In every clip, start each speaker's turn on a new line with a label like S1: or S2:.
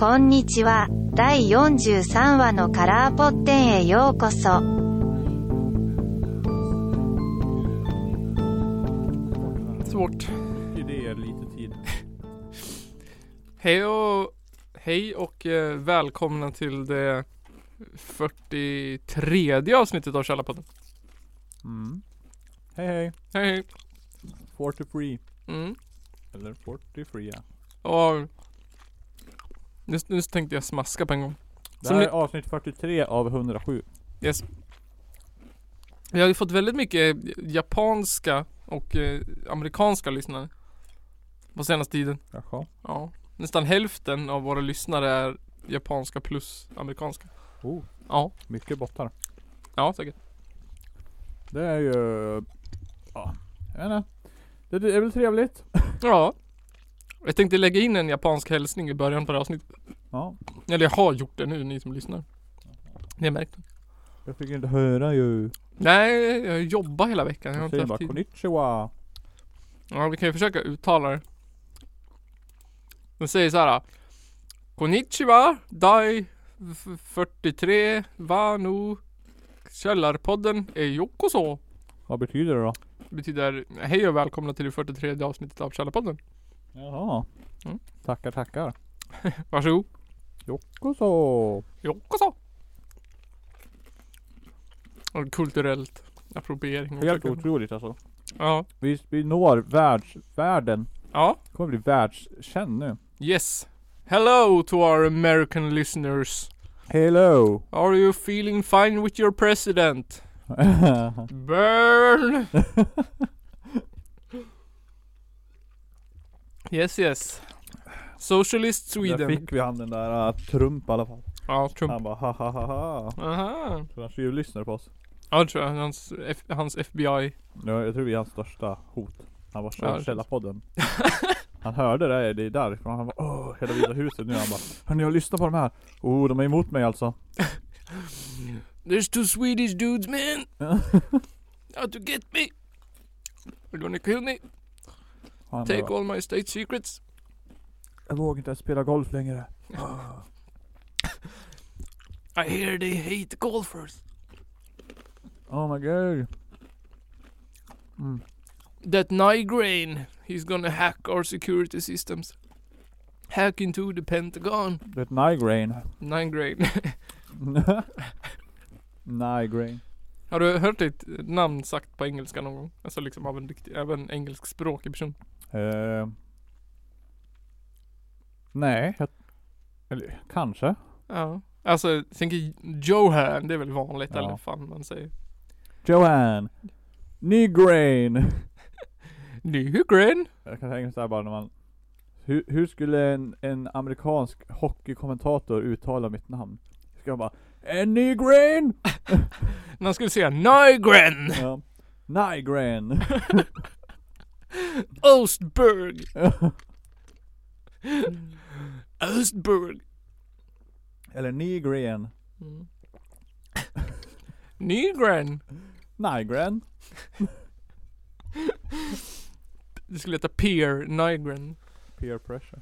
S1: こんにちは。第43話のカラーポッテンへようこそ。
S2: Svårt. Idéer lite tid. Hej och, hej och eh, välkomna till det 43 avsnittet av Källarpodden.
S3: Mm. Hej hej!
S2: Hej hej.
S3: 43.
S2: Mm.
S3: Eller 43 ja.
S2: Och nu, nu tänkte jag smaska på en gång.
S3: Det
S2: Som
S3: här
S2: ni-
S3: är avsnitt 43 av 107.
S2: Yes. Vi har ju fått väldigt mycket japanska och eh, amerikanska lyssnare. På senaste tiden.
S3: Jaha.
S2: Ja. Nästan hälften av våra lyssnare är japanska plus amerikanska.
S3: Oh,
S2: Ja.
S3: mycket bottar.
S2: Ja säkert.
S3: Det är ju... Ja, jag vet inte. Det det är väl trevligt?
S2: Ja. Jag tänkte lägga in en japansk hälsning i början på det här avsnittet.
S3: Ja.
S2: Eller jag har gjort det nu, ni som lyssnar. Ni har märkt det.
S3: Jag fick inte höra ju.
S2: Nej, jag jobbar hela veckan. Jag har
S3: Jag
S2: inte
S3: säger
S2: haft
S3: bara
S2: tid.
S3: konnichiwa.
S2: Ja, vi kan ju försöka uttala det. Den säger så här. Konnichiwa, dai f- 43, wa nu Källarpodden är yokoso.
S3: Vad betyder det då?
S2: Det betyder hej och välkomna till det 43 avsnittet av Källarpodden.
S3: Jaha.
S2: Mm.
S3: Tackar tackar.
S2: Varsågod.
S3: Yokoso.
S2: Yokoso. Och kulturellt appropriering.
S3: Helt otroligt alltså.
S2: Ja.
S3: Vi, vi når världs, världen.
S2: Ja.
S3: Kommer bli världskänd nu.
S2: Yes. Hello to our American listeners.
S3: Hello!
S2: Are you feeling fine with your president? Burn! yes yes. Socialist
S3: Där
S2: Sweden.
S3: fick vi han den där uh, Trump i alla fall.
S2: Ja, Trump.
S3: Han bara ha ha ha ha.
S2: Aha.
S3: Så han ju lyssnar på oss.
S2: Ja, det tror jag. Hans, F- hans FBI.
S3: Ja, jag tror vi är hans största hot. Han var
S2: Ja, det
S3: ja, källarpodden. han hörde det, det är därifrån. Han bara åh, hela Vita huset nu. Han bara Hörni jag lyssnar på de här. Oh, de är emot mig alltså.
S2: There's two Swedish dudes man! How to get me? They're gonna kill me.
S3: Han
S2: Take
S3: bara,
S2: all my state secrets.
S3: jag vågar inte ens spela golf längre. Ah,
S2: I hear they hate golfers.
S3: Oh my god. Mm.
S2: That migraine, he's gonna hack our security systems. Hack into the Pentagon.
S3: Det är ett migraine.
S2: Nigraine.
S3: migraine.
S2: Har du hört ditt namn sagt på engelska någon gång? Alltså liksom av en riktig, även engelskspråkig person.
S3: Eh. nej. Jag, eller, kanske.
S2: Ja. Alltså, jag tänker Johan, det är väl vanligt
S3: Ja.
S2: eller vad fan man säger.
S3: Johan. Nigraine.
S2: Nygren?
S3: Jag kan tänka mig såhär bara när man hur, hur skulle en, en amerikansk hockeykommentator uttala mitt namn? Ska jag bara En Nygren!
S2: När han skulle säga Nygren!
S3: Ja. Nygren!
S2: Östberg! Östberg!
S3: Eller Nygren.
S2: Nygren!
S3: Nygren?
S2: Det skulle heta Peer Nygren.
S3: Peer pressure.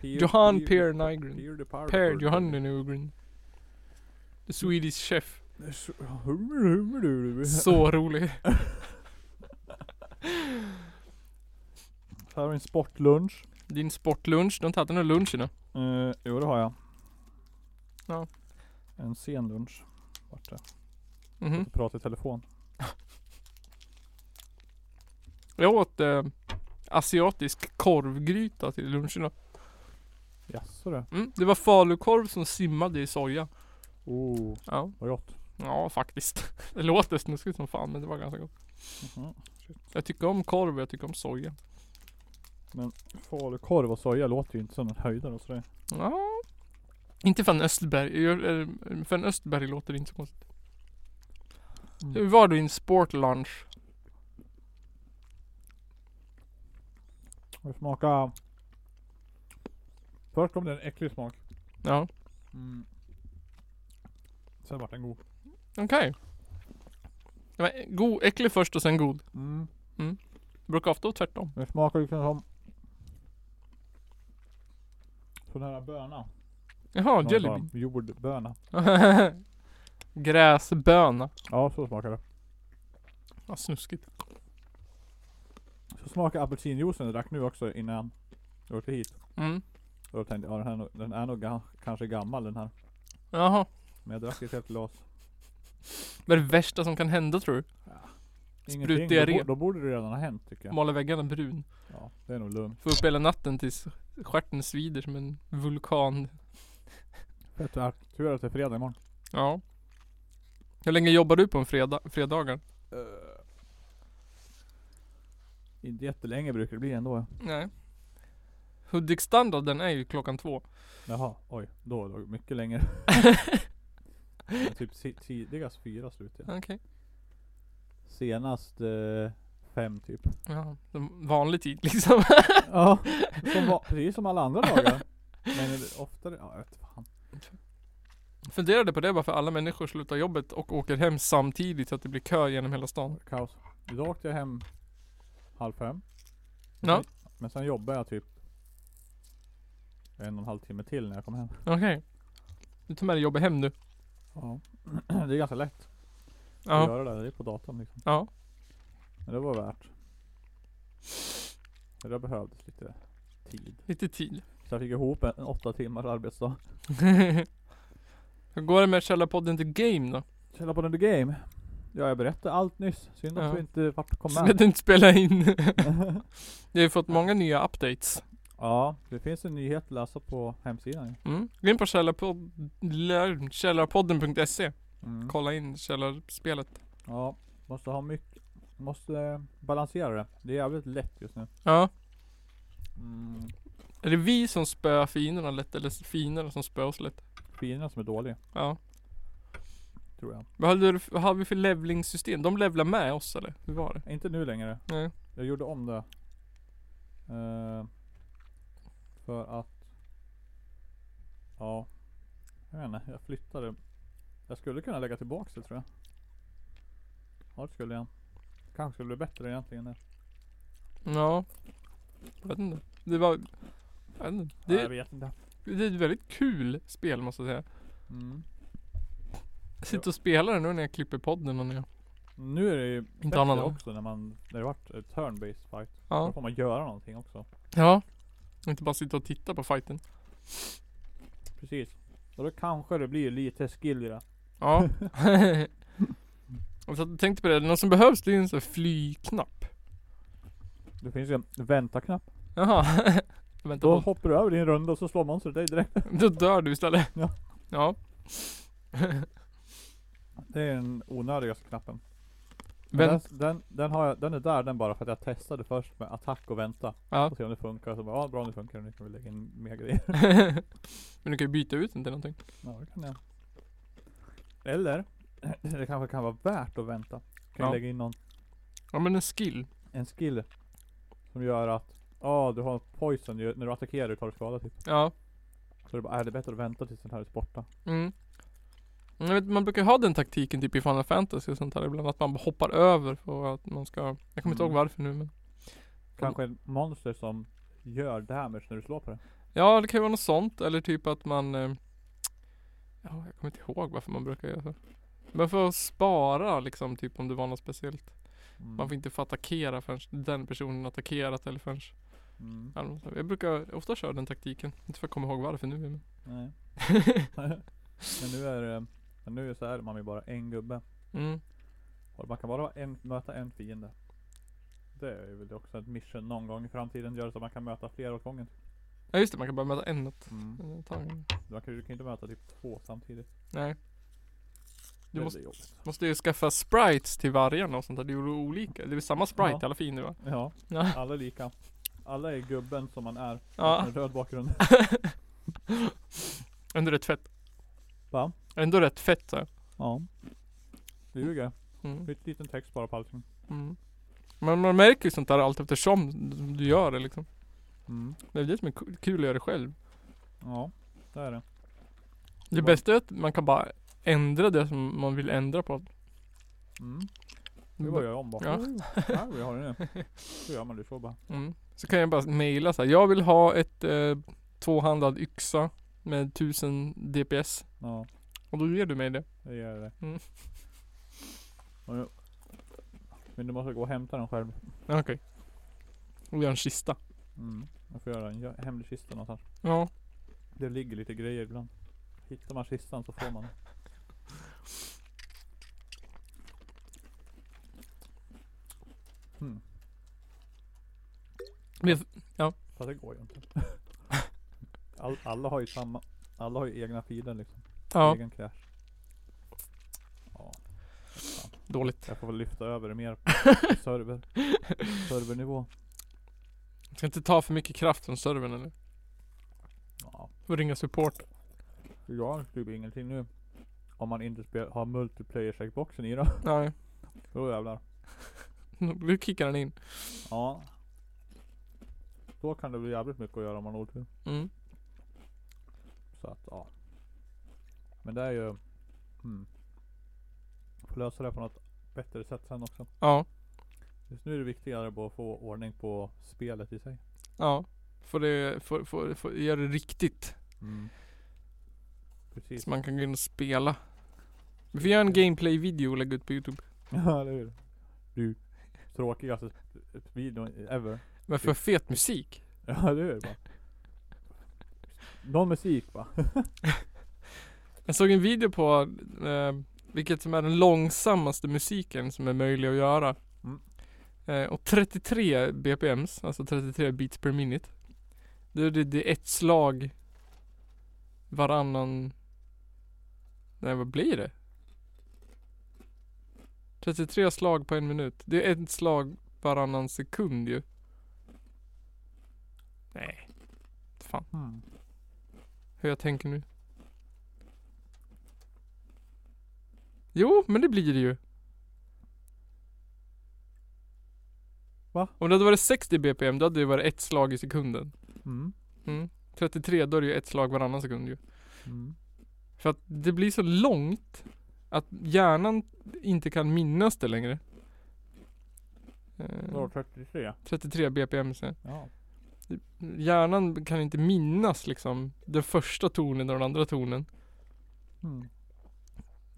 S3: Peer,
S2: Johan Peer Nygren.
S3: Peer the
S2: Per
S3: power pressure.
S2: Johan Nygren. The Swedish chef. Så rolig.
S3: Här har vi en sportlunch.
S2: Din sportlunch, du har inte haft någon lunch ännu.
S3: Uh, jo det har jag.
S2: Ja.
S3: En sen lunch. Vart det?
S2: Mhm.
S3: Jag pratar i telefon.
S2: Jag åt eh, asiatisk korvgryta till lunchen idag.
S3: Jaså du?
S2: mm. Det var falukorv som simmade i soja.
S3: Oh,
S2: Ja,
S3: vad gott.
S2: ja faktiskt. Det låter snuskigt som fan men det var ganska gott.
S3: Mhm.
S2: Jag tycker om korv och jag tycker om soja.
S3: Falukorv och soja låter ju inte som en höjdare och sådär.
S2: Ja. Inte för en Östberg. Jag- eh, För en Östberg låter det inte så konstigt.
S3: Mm.
S2: Hur var din sportlunch?
S3: Vi smakar... Först kom det en äcklig smak.
S2: Ja.
S3: Mm. Sen vart den god.
S2: Okej. Det var god, äcklig först och sen god.
S3: Mm.
S2: Brukar ofta vara tvärtom.
S3: Den smakar liksom som... på den här bönan.
S2: Jaha,
S3: Någon
S2: jelly
S3: sa Jordböna.
S2: bean. Gräsböna.
S3: Ja, så smakar det.
S2: Vad snuskigt.
S3: Så smakar apelsinjuicen jag drack nu också innan jag åkte hit.
S2: Mm.
S3: Och då tänkte jag, ja, den, här, är nog- den är nog ga- kanske gammal den här.
S2: Jaha.
S3: Men jag drack ett helt glas.
S2: Vad är det värsta som kan hända tror du?
S3: Ingenting. Då,
S2: Sprutdiarré.
S3: bo- då borde det redan ha hänt tycker jag.
S2: Måla väggarna brun.
S3: Ja, det är nog lugnt.
S2: Få upp hela natten tills stjärten svider som en vulkan.
S3: Fett är- Tur att det är fredag imorgon.
S2: Ja. Hur länge jobbar du på en fredag, fredagar?
S3: Inte jättelänge brukar det bli ändå.
S2: Nej. Hudik-standarden är ju klockan två.
S3: Jaha, oj. Då låg det mycket längre. Men typ si- tidigast fyra slutar jag.
S2: Okej.
S3: Senast eh, fem typ.
S2: Ja, som vanlig tid liksom.
S3: Ja, som va- precis som alla andra dagar. Men är det oftare, ja jag vet fan.
S2: Funderade på det bara för alla människor slutar jobbet och åker hem samtidigt så att det blir kö genom hela stan.
S3: Kaos. Idag åkte jag hem halv fem.
S2: Ja.
S3: Men sen jobbade jag typ en och en halv timme till när jag kom hem.
S2: Okej. Du tar med dig jobbet hem nu.
S3: Ja. Det är ganska lätt att
S2: Ja.
S3: göra det. Det är på datorn liksom.
S2: Ja.
S3: Men det var värt. Men Det behövdes lite tid.
S2: Lite tid.
S3: Så jag fick ihop en, en åtta timmars arbetsdag.
S2: Hur går det med Källarpodden The Game då?
S3: Källa på the game. Ja jag berättade allt nyss. Synd att
S2: Ja.
S3: vi inte vart kom
S2: Så
S3: med.
S2: att den inte spelar in. Vi har ju fått många nya updates.
S3: Ja, det finns en nyhet att läsa på hemsidan. ju.
S2: Mm. Gå in på källarpod- lär- källarpodden.se.
S3: Mm.
S2: Kolla in källarspelet.
S3: Ja, måste ha mycket. Måste eh, balansera det. Det är jävligt lätt just nu.
S2: Ja.
S3: Mm.
S2: Är det vi som spöar fienderna lätt eller fienderna som spöar oss lätt?
S3: Fienderna som är dåliga,
S2: Ja.
S3: tror jag.
S2: Vad hade du, vad hade vi för levlingssystem? De levlar med oss eller? Hur var det?
S3: Inte nu längre.
S2: Nej.
S3: Jag gjorde om det. Eh, för att... Ja. Jag vet inte, jag flyttade. Jag skulle kunna lägga tillbaks det tror jag. Ja det skulle jag. Kanske skulle det bli bättre egentligen. nu.
S2: Ja. Jag vet inte. Det var... Jag vet inte.
S3: Nej, jag
S2: Det,
S3: vet inte.
S2: det är ett väldigt kul spel måste jag säga.
S3: Mm.
S2: Jag sitter och spelar det nu när jag klipper podden och när jag...
S3: Nu är det ju bättre
S2: annan gång.
S3: också när man, när det vart eh, turn-based fight. Då
S2: Ja.
S3: får man göra någonting också.
S2: Ja. Inte bara sitta och titta på fighten.
S3: Precis. Och då kanske det blir lite skill i det.
S2: Ja. Och så tänkte på det, något som behövs det är ju en sån här flyknapp.
S3: Det finns ju en vänta-knapp.
S2: Jaha. Vänta
S3: Då
S2: på.
S3: hoppar du över din runda och så slår monstret dig direkt.
S2: Då dör du istället.
S3: Ja.
S2: Ja.
S3: Det är den onödigaste knappen. Men
S2: Vänt.
S3: Den, den, den, har jag, den är där den bara för att jag testade först med attack och vänta.
S2: Ja.
S3: Och se om det funkar. Så bara, ja bra om det funkar. Nu kan vi lägga in mer grejer.
S2: Men du kan ju byta ut den till någonting.
S3: Ja det kan jag. Eller, det kanske kan vara värt att vänta. Kan
S2: Ja.
S3: jag lägga in någon,
S2: Ja men en skill.
S3: en skill. Som gör att, ja du har en poison ju- när du attackerar du tar du skada typ.
S2: Ja.
S3: Så det bara, är det bättre att vänta tills den här är borta?
S2: Mm. Men Jag vet, man brukar ha den taktiken typ i Final Fantasy och sånt där ibland. Att man bara hoppar över för att man ska... Jag kommer inte ihåg
S3: Mm.
S2: varför nu men.
S3: Kanske ett monster som gör damage när du slår på det.
S2: Ja det kan ju vara något sånt. Eller typ att man... Eh, ja jag kommer inte ihåg varför man brukar göra så. Men för att spara liksom typ om det var något speciellt.
S3: Mm.
S2: Man får inte få attackera förrän den personen attackerat eller förrän...
S3: Mm.
S2: eller något sånt. Jag brukar ofta köra den taktiken. Inte för att komma ihåg varför nu men.
S3: Nej. men nu är det, men nu är så här, man är bara en gubbe.
S2: Mm.
S3: Och man kan bara ha en, möta en fiende. Det är väl också ett mission någon gång i framtiden. Gör det så att man kan möta fler åt gången.
S2: Ja just det, man kan bara möta en åt
S3: Mm.
S2: en åt gången.
S3: Man kan, du kan ju inte möta typ två samtidigt.
S2: Nej. Du
S3: Det
S2: måste,
S3: blir jobbigt.
S2: måste ju skaffa sprites till vargarna och sånt där. Det är ju olika. Det är samma sprite
S3: Ja.
S2: i alla fiender va?
S3: Ja,
S2: Ja.
S3: alla är lika. Alla är gubben som man är.
S2: Ja.
S3: Med röd bakgrund.
S2: Ändå rätt fett.
S3: Va?
S2: Ändå rätt fett så.
S3: Ja. Det ljuger.
S2: Mm.
S3: Lite liten text bara på allting.
S2: Mm. Men man märker ju sånt där allt eftersom du gör det liksom.
S3: Mm.
S2: Det är det som är ku- kul att göra det själv.
S3: Ja, det är det.
S2: Det bästa är att man kan bara ändra det som man vill ändra på.
S3: Mm. Det var jag om bara.
S2: Ja.
S3: Ja, vi har det nu. Så gör man det så bara.
S2: Mm. Så kan jag bara mejla så här. Jag vill ha ett eh, tvåhandad yxa med 1000 DPS.
S3: Ja,
S2: Och då ger du mig det.
S3: det gör det.
S2: Mm.
S3: Och jag- Men du måste gå och hämta den själv.
S2: Ja, Okej. Och jag har en kista.
S3: Mm. Jag får göra en gö- hemlig kista någonstans.
S2: Ja.
S3: Det ligger lite grejer ibland. Hittar man kistan så får man den. Hmm.
S2: Men- Mm. ja.
S3: Fast det går ju inte. All, alla har ju samma. Alla har ju egna filer liksom.
S2: Ja.
S3: Egen cache. Ja,
S2: Dåligt.
S3: jag får väl lyfta över det mer på server. Servernivå.
S2: Jag ska inte ta för mycket kraft från servern eller?
S3: Ja.
S2: Och ringa support.
S3: Jag har typ ingenting nu. Om man inte spel- har multiplayer-checkboxen i då.
S2: Nej.
S3: Då jävlar.
S2: Nu kickar den in.
S3: Ja. Då kan det bli jävligt mycket att göra om man har otur.
S2: Mm.
S3: Så att ja. Men det är ju. Hmm. Får lösa det på något bättre sätt sen också.
S2: Ja.
S3: Just nu är det viktigare bara att få ordning på spelet i sig.
S2: Ja. Får det, får, får, får göra det riktigt.
S3: Precis.
S2: Så man kan gå in och spela. Vi får göra en gameplay-video och lägga ut på youtube.
S3: Ja eller hur. Du. Tråkigaste sp- videon ever.
S2: Men för fet musik.
S3: Ja det är det bara. Någon musik va?
S2: Jag såg en video på eh, vilket som är den långsammaste musiken som är möjlig att göra.
S3: Mm.
S2: Eh, och 33 BPMs, alltså 33 beats per minute. Det, det, det är ett slag varannan... Nej vad blir det? 33 slag på en minut. Det är ett slag varannan sekund ju. Nej. Fan,
S3: Hmm.
S2: hur jag tänker nu. Jo, men det blir det ju.
S3: Va?
S2: Om det hade varit 60 BPM, då hade det varit ett slag i sekunden.
S3: Mm.
S2: Mm. 33, då är det ju ett slag varannan sekund ju.
S3: Mm.
S2: För att det blir så långt att hjärnan inte kan minnas det längre. Eh,
S3: Då 33.
S2: 33 BPM sen.
S3: Ja.
S2: Hjärnan kan inte minnas liksom den första tonen och den andra tonen.
S3: Mm.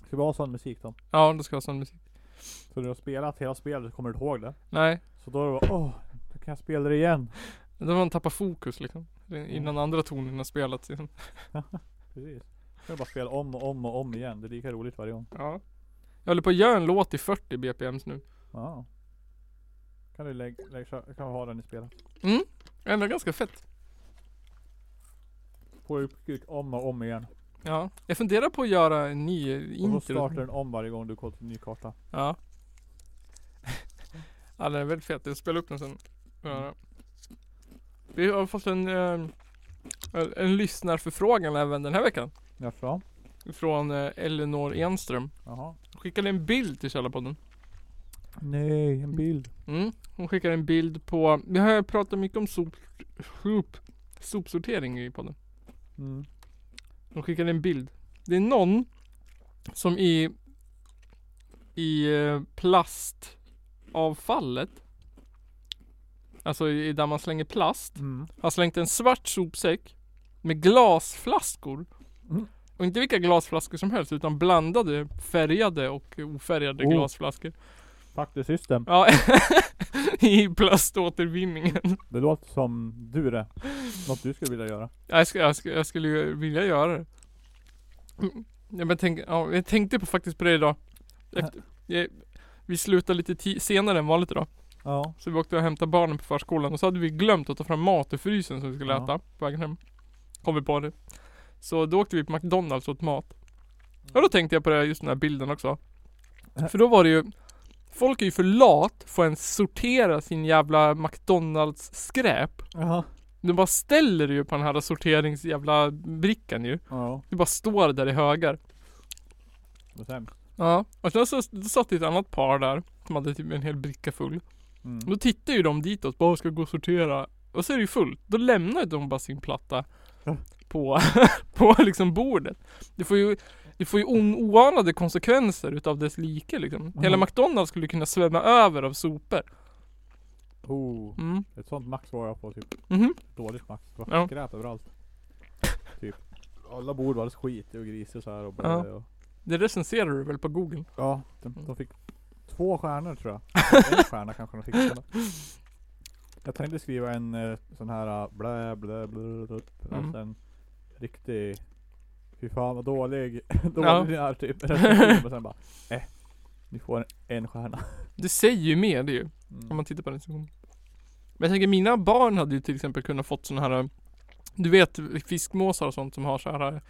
S3: Ska vi ha sån musik då?
S2: Ja, då ska jag ha sån musik.
S3: Så du har spelat hela spelet så kommer du inte ihåg det.
S2: Nej,
S3: Så då är det bara, åh, då kan jag spela det igen.
S2: då har man tappat fokus liksom. Innan andra tonen har spelats. igen.
S3: Precis. Då kan du bara spela om och om och om igen. Det är lika roligt varje gång.
S2: Ja. Jag håller på att göra en låt i 40 BPMs nu.
S3: Ja. Kan du lägga, lägg, kö- kan vi ha den i spelet.
S2: Mm. Ändå ganska fett.
S3: På uppkik om och om igen.
S2: Ja. Jag funderar på att göra en ny
S3: Och
S2: intro.
S3: så startar den om varje gång du går till en ny karta.
S2: Ja. ja, den är väldigt fet. Jag spelar upp den sen. Ja. Vi har fått en, eh, en lyssnarförfrågan även den här veckan.
S3: Jaså?
S2: Från eh, Elinor Enström.
S3: Jaha.
S2: Hon skickade en bild till Källarpodden.
S3: Nej, en bild.
S2: Mm. Hon skickade en bild på, vi har pratat mycket om sop, sop, sopsortering i podden.
S3: Mm.
S2: Hon skickade en bild. Det är någon som i, i eh, plastavfallet, alltså i, där man slänger plast,
S3: Mm.
S2: har slängt en svart sopsäck med glasflaskor.
S3: Mm.
S2: Och inte vilka glasflaskor som helst utan blandade färgade och ofärgade
S3: Oh.
S2: glasflaskor.
S3: Fuck the system.
S2: Ja, i plaståtervinningen.
S3: Det låter som du det. Något du skulle vilja göra.
S2: Jag, ska, jag, ska, jag skulle ju vilja göra det. Mm. Ja, men tänk, ja, jag tänkte på, faktiskt på det idag. Efter, jag, vi slutade lite ti- senare än vanligt idag.
S3: Ja.
S2: Så vi åkte och hämtade barnen på förskolan och så hade vi glömt att ta fram mat ur frysen som vi skulle
S3: Ja.
S2: äta på vägen hem. Kom vi på det. Så då åkte vi på McDonalds och åt mat. Och då tänkte jag på det här, just den här bilden också. För då var det ju Folk är ju för lat för att ens sortera sin jävla McDonalds skräp.
S3: Jaha.
S2: De bara ställer det ju på den här sorteringsjävla brickan ju.
S3: Ja.
S2: Det bara står där i högar.
S3: Det är sämst.
S2: Ja. Och sen så då satt det ett annat par där som hade typ en hel bricka full.
S3: Mm.
S2: Då tittar ju de ditåt, bara ska gå och sortera. Och så är det ju fullt. Då lämnar ju de bara sin platta
S3: Ja.
S2: på, på liksom bordet. Det får ju, det får ju on, oanade konsekvenser utav dess like liksom. Hela
S3: Mm.
S2: McDonalds skulle kunna svämma över av sopor.
S3: Oh.
S2: Mm.
S3: Ett sånt max var jag på typ.
S2: Mhm.
S3: Dåligt max. Det var
S2: Ja.
S3: skräp överallt. Typ. Alla bord var alldeles skitiga och grisiga så här och bara,
S2: Ja.
S3: och,
S2: Det recenserar du väl på google?
S3: ja de,
S2: Mm.
S3: de fick två stjärnor tror jag. en stjärna kanske de fick. Eller? Jag tänkte skriva en eh, sån här eh, blä blä blä blä, blä
S2: Mm.
S3: mm. en riktig Fy fan vad dålig, dålig
S2: Ja.
S3: ja. är typ. recension. och sen bara, eh, ni får en, en stjärna.
S2: Det säger ju mer det ju. Om
S3: Mm.
S2: man tittar på recensionen. Men jag tänker mina barn hade ju till exempel kunnat fått såna här eh, Du vet fiskmåsar och sånt som har så här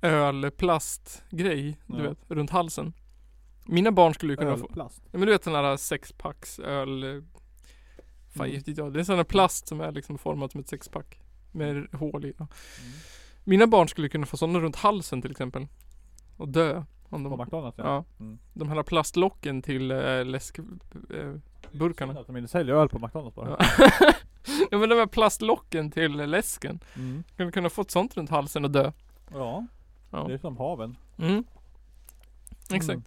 S2: eh, ölplastgrej. Du
S3: Ja.
S2: vet, runt halsen. Mina barn skulle ju kunna få
S3: Ölplast.
S2: Ja men du vet sån här sexpacks öl eh, Fan
S3: Mm.
S2: vet inte jag. Det är sån här plast som är liksom formad som ett sexpack. Med hål i. Ja.
S3: Mm.
S2: Mina barn skulle kunna få såna runt halsen till exempel. Och dö. Om
S3: På
S2: de,
S3: McDonalds ja.
S2: ja.
S3: Mm.
S2: De här plastlocken till äh, läskburkarna. Äh, burkarna.
S3: Synd att de inte säljer öl på McDonalds bara.
S2: Ja. ja men de här plastlocken till läsken.
S3: Mm.
S2: Skulle kunna fått sånt runt halsen och dö.
S3: ja.
S2: Ja.
S3: Det är som haven.
S2: Mm. Exakt.
S3: Mm.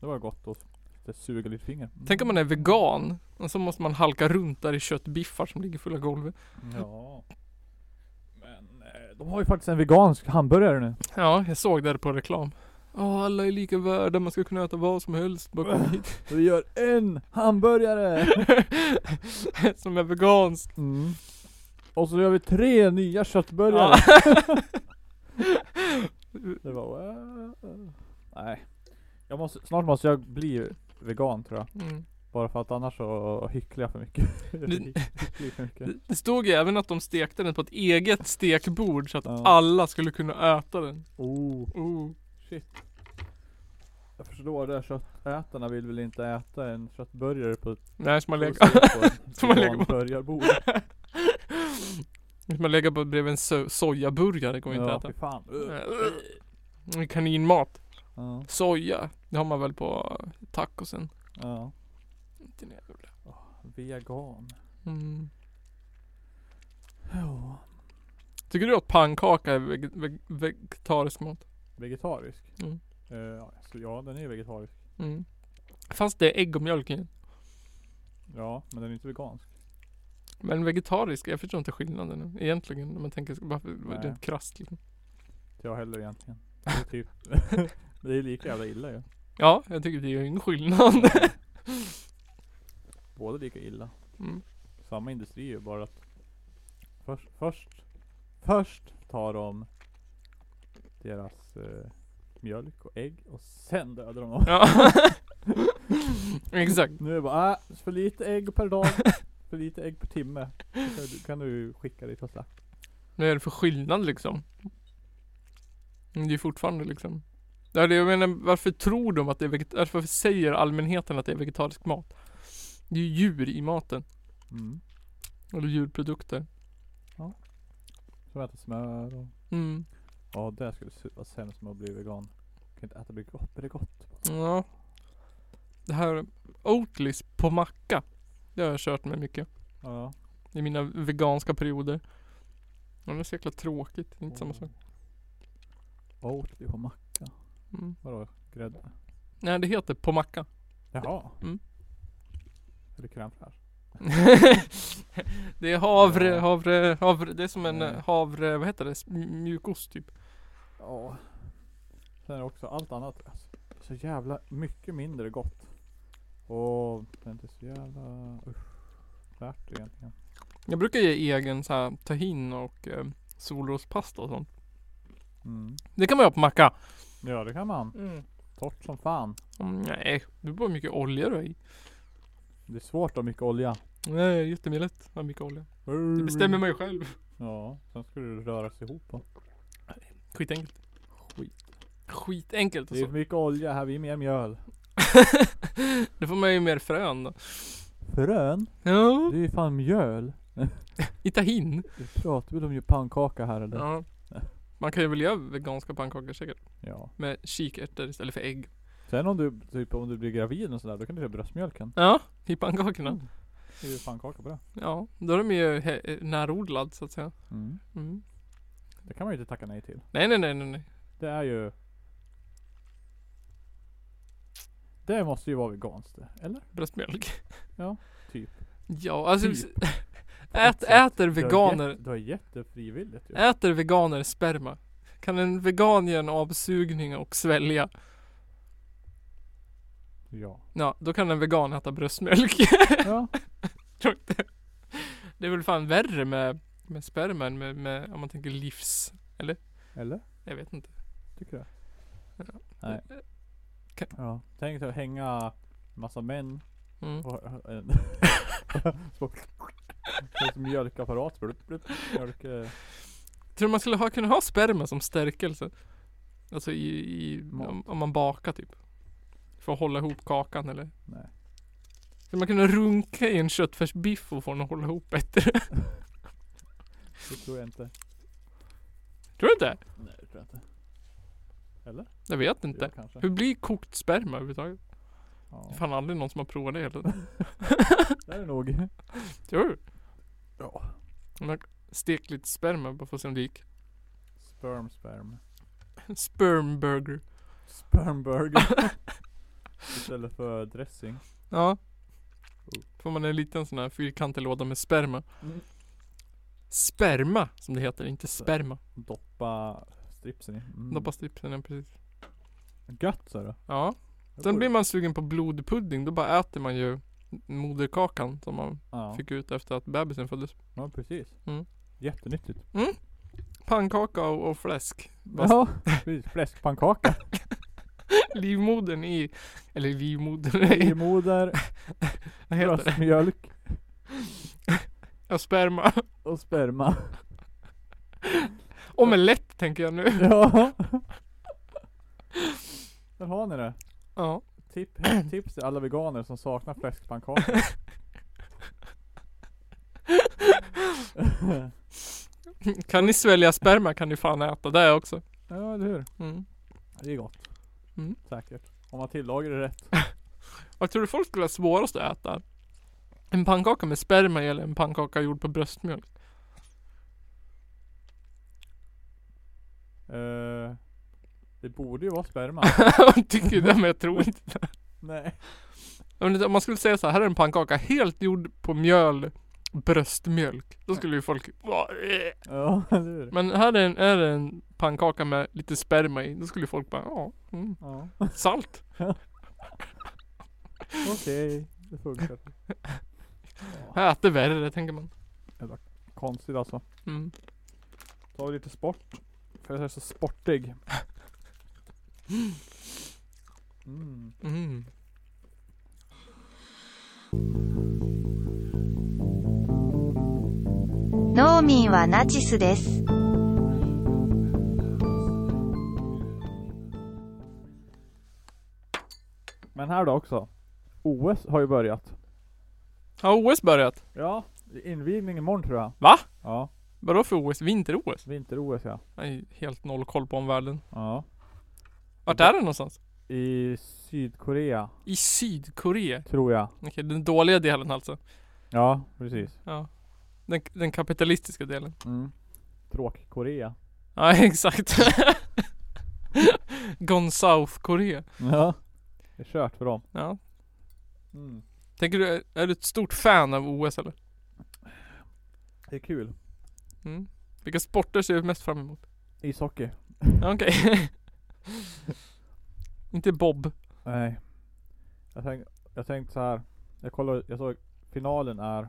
S3: Det var gott att det suger lite finger. Mm.
S2: Tänk om man är vegan. Och så måste man halka runt där i köttbiffar som ligger fulla golvet.
S3: Ja. Men eh, de har ju faktiskt en vegansk hamburgare nu.
S2: Ja, jag såg det på reklam. Ja, alla är lika värda. Man ska kunna äta vad som helst. Bara kom hit.
S3: Så vi gör en hamburgare!
S2: som är vegansk.
S3: Mm. Och så gör vi tre nya köttburgare.
S2: Ja.
S3: Det var... eh, Nej. Jag måste, snart måste jag bli vegan tror jag.
S2: Mm.
S3: Bara för att annars så hycklar jag för mycket. Jag
S2: Du-
S3: hycklar för mycket.
S2: Det- Det stod ju även att de stekte den på ett eget stekbord så att
S3: Ja.
S2: alla skulle kunna äta den.
S3: Oh.
S2: Oh.
S3: Shit. Jag förstår det, köttätarna vill väl inte äta en köttburgare på ett
S2: Nej, som man lägger. Som man lägger på.
S3: veganburgarbord.
S2: Om man lägger på bredvid en so sojaburgare går ju inte
S3: ja,
S2: att äta.
S3: fy fan.
S2: Eh, Kaninmat.
S3: Ja,
S2: Soja. Det har man väl på tacosen.
S3: ja.
S2: Inte en jävla-
S3: Vegan.
S2: Mm.
S3: Ja.
S2: Tycker du att pannkaka är veg veg vegetarisk mat?
S3: Vegetarisk?
S2: Mm.
S3: Eh, ja, så ja, den är vegetarisk.
S2: Mm. Fast det är ägg och mjölk i.
S3: Ja, men den är inte vegansk.
S2: Men vegetarisk, jag förstår inte skillnaden egentligen. Om man tänker så- bara för-
S3: Nej.
S2: rent krasst liksom.
S3: Inte Jag heller egentligen. Det är typ... det är lika jävla illa ju.
S2: Ja, jag tycker det är ju ingen skillnad.
S3: Båda lika illa.
S2: Mm.
S3: Samma industri ju bara att... Först... Först, först tar de deras eh, mjölk och ägg och sen dödar de dem.
S2: Ja. Exakt.
S3: Nu är det bara äh, för lite ägg per dag. För lite ägg per timme. Så du- kan du skicka dit och slakt.
S2: Vad är det för skillnad liksom? Men Det är fortfarande liksom Ja, det, jag menar, varför tror de att det är veget- alltså, Varför säger allmänheten att det är vegetarisk mat? Det är ju djur i maten.
S3: Mm.
S2: Eller djurprodukter.
S3: Som äter smör och...
S2: Mm.
S3: Ja det skulle se- vara sämst med att bli vegan. Kan inte äta bli gott, men det är gott.
S2: Ja. Det här Oatlys på macka. Det har jag kört med mycket.
S3: Ja.
S2: I mina veganska perioder. Men det är så jäkla tråkigt. Det är inte samma sak.
S3: Oatly på macka.
S2: Mm.
S3: Vadå? Grädde?
S2: Nej det heter på macka.
S3: Jaha.
S2: Mm.
S3: Eller crème fraîche.
S2: det är havre,
S3: Ja.
S2: havre, havre. Det är som en
S3: Nej.
S2: eh, havre, vad heter det? S- m- Mjukost typ.
S3: Ja. Sen är det också allt annat. Alltså, så jävla mycket mindre gott. Och det är inte så jävla... Usch. Värt det egentligen.
S2: Jag brukar ge egen så här tahin och eh, solrospasta och sånt.
S3: Mm.
S2: Det kan man göra på macka.
S3: Ja det kan man.
S2: Mm.
S3: Torrt som fan.
S2: nej, det beror på hur mycket olja du har i.
S3: Det är svårt att ha mycket olja.
S2: Nej, jättemilligt att ha mycket olja. Det bestämmer man ju själv.
S3: Ja, sen ska det röras ihop. och-
S2: Skitenkelt.
S3: Skit.
S2: Skitenkelt
S3: Det är
S2: alltså.
S3: för mycket olja här, vi är mer mjöl.
S2: Då får man ju mer frön då.
S3: Frön?
S2: Ja,
S3: Det är ju fan mjöl.
S2: i tahin.
S3: Vi pratar väl om ju pannkaka här eller?
S2: Ja. Man kan ju väl göra veganska pannkakor säkert.
S3: Ja.
S2: Med kikärtor istället för ägg.
S3: Sen om du, typ, om du blir gravid och sådär, då kan du köra bröstmjölken.
S2: Ja, i pannkakorna.
S3: Det är ju pannkaka på det.
S2: Ja, då är de ju he- närodlad så att säga.
S3: Mm.
S2: Mm.
S3: Det kan man ju inte tacka nej till.
S2: Nej, nej, nej, nej, nej.
S3: Det är ju... Det måste ju vara veganskt det, eller?
S2: Bröstmjölk.
S3: Ja, typ.
S2: Ja, alltså.
S3: Typ.
S2: Ät, äter veganer,
S3: Du har jättefrivilligt ju.
S2: äter veganer sperma? Kan en vegan ge en avsugning och svälja?
S3: Ja.
S2: Ja, då kan en vegan äta bröstmjölk.
S3: ja.
S2: det är väl fan värre med, med sperma än med, med, om man tänker livs...
S3: Eller?
S2: Jag vet inte.
S3: Tycker du?
S2: Ja.
S3: Nej.
S2: Kan-
S3: Ja. Tänk dig att hänga massa män
S2: Mm.
S3: och en... så- så som mjölkapparat. Blup, blup, mjölk. eh,
S2: Tror du man skulle ha, kunna ha sperma som stärkelse? Alltså i, i
S3: Mat.
S2: om, om man bakar typ. För att hålla ihop kakan eller?
S3: Nej.
S2: Skulle man kunna runka i en köttfärsbiff och få den att hålla ihop bättre?
S3: Det tror jag inte.
S2: Tror du inte?
S3: Nej det tror jag inte.
S2: Jag vet
S3: Jo,
S2: inte.
S3: kanske.
S2: Hur blir kokt sperma överhuvudtaget? Det
S3: Ja.
S2: är fan aldrig någon som har provat det heller.
S3: Det är det nog.
S2: Tror du?
S3: Ja.
S2: Man stek lite sperma bara för att se om det gick.
S3: Sperm sperm.
S2: Spermburger.
S3: Spermburger. Istället för dressing.
S2: Ja.
S3: Oh.
S2: Får man en liten sån här fyrkantig låda med sperma.
S3: Mm.
S2: Sperma som det heter, inte sperma.
S3: Doppa stripsen i. Mm.
S2: Doppa stripsen ja, precis.
S3: Gött sa du.
S2: Ja. Sen blir man sugen på blodpudding, då bara äter man ju moderkakan som man
S3: ja.
S2: fick ut efter att bebisen föddes.
S3: ja precis.
S2: Mm.
S3: Jättenyttigt.
S2: Pannkaka och, och fläsk. Vad-
S3: Ja, precis. Fläskpannkaka.
S2: Livmodern i, eller livmodern, i-
S3: Livmoder,
S2: vad heter det?
S3: bröstmjölk
S2: Ja, sperma.
S3: och sperma.
S2: Omelett tänker jag nu.
S3: Ja. Där har ni det.
S2: Ja.
S3: Tip, tips till alla veganer som saknar fläskpannkaka.
S2: Kan ni svälja sperma kan ni fan äta det också.
S3: ja, eller hur.
S2: Mm.
S3: Det är gott.
S2: Mm.
S3: Säkert. Om man tillagar det rätt.
S2: Vad tror du folk skulle ha svårast att äta? En pannkaka med sperma eller en pannkaka gjord på bröstmjölk?
S3: Eh, det borde ju vara sperma.
S2: Jag tycker det men jag tror inte
S3: Nej.
S2: Jag vet inte, Om man skulle säga så här, här är en pannkaka helt gjord på mjöl, bröstmjölk. Då skulle ju folk "Åh, eh."
S3: Ja, eller hur.
S2: Men här är en, här är en pannkaka med lite sperma i. Då skulle ju folk bara, ja, mm,
S3: Ja.
S2: salt.
S3: Okej, det funkar.
S2: Jag äter värre, tänker man.
S3: Konstigt alltså.
S2: Mm.
S3: Ta lite sport. För jag är så sportig. Mm.
S2: Mm.
S1: 「農民はナチスです」
S3: Men här då också. OS har ju börjat.
S2: Har OS börjat?
S3: Ja, invigning imorgon tror jag.
S2: Va?
S3: Ja,
S2: Vadå för OS? Vinter-OS?
S3: vinter-OS ja.
S2: Jag har helt noll koll på omvärlden.
S3: ja.
S2: Vart är det någonstans?
S3: I Sydkorea,
S2: I Sydkorea?
S3: tror jag.
S2: Okej, den dåliga delen alltså.
S3: Ja, precis.
S2: Ja. Den, den kapitalistiska delen.
S3: Mm. Tråk-Korea.
S2: Ja, exakt. Gone South-Korea.
S3: Ja. Det är kört för dem.
S2: Ja.
S3: Mm.
S2: Tänker du, är du ett stort fan av OS eller?
S3: Det är kul.
S2: Mm. Vilka sporter ser du mest fram emot?
S3: Ishockey.
S2: Ja, Okej. Inte Bob.
S3: Nej. Jag tänkte, jag tänkte så här. Jag kollade, jag såg finalen är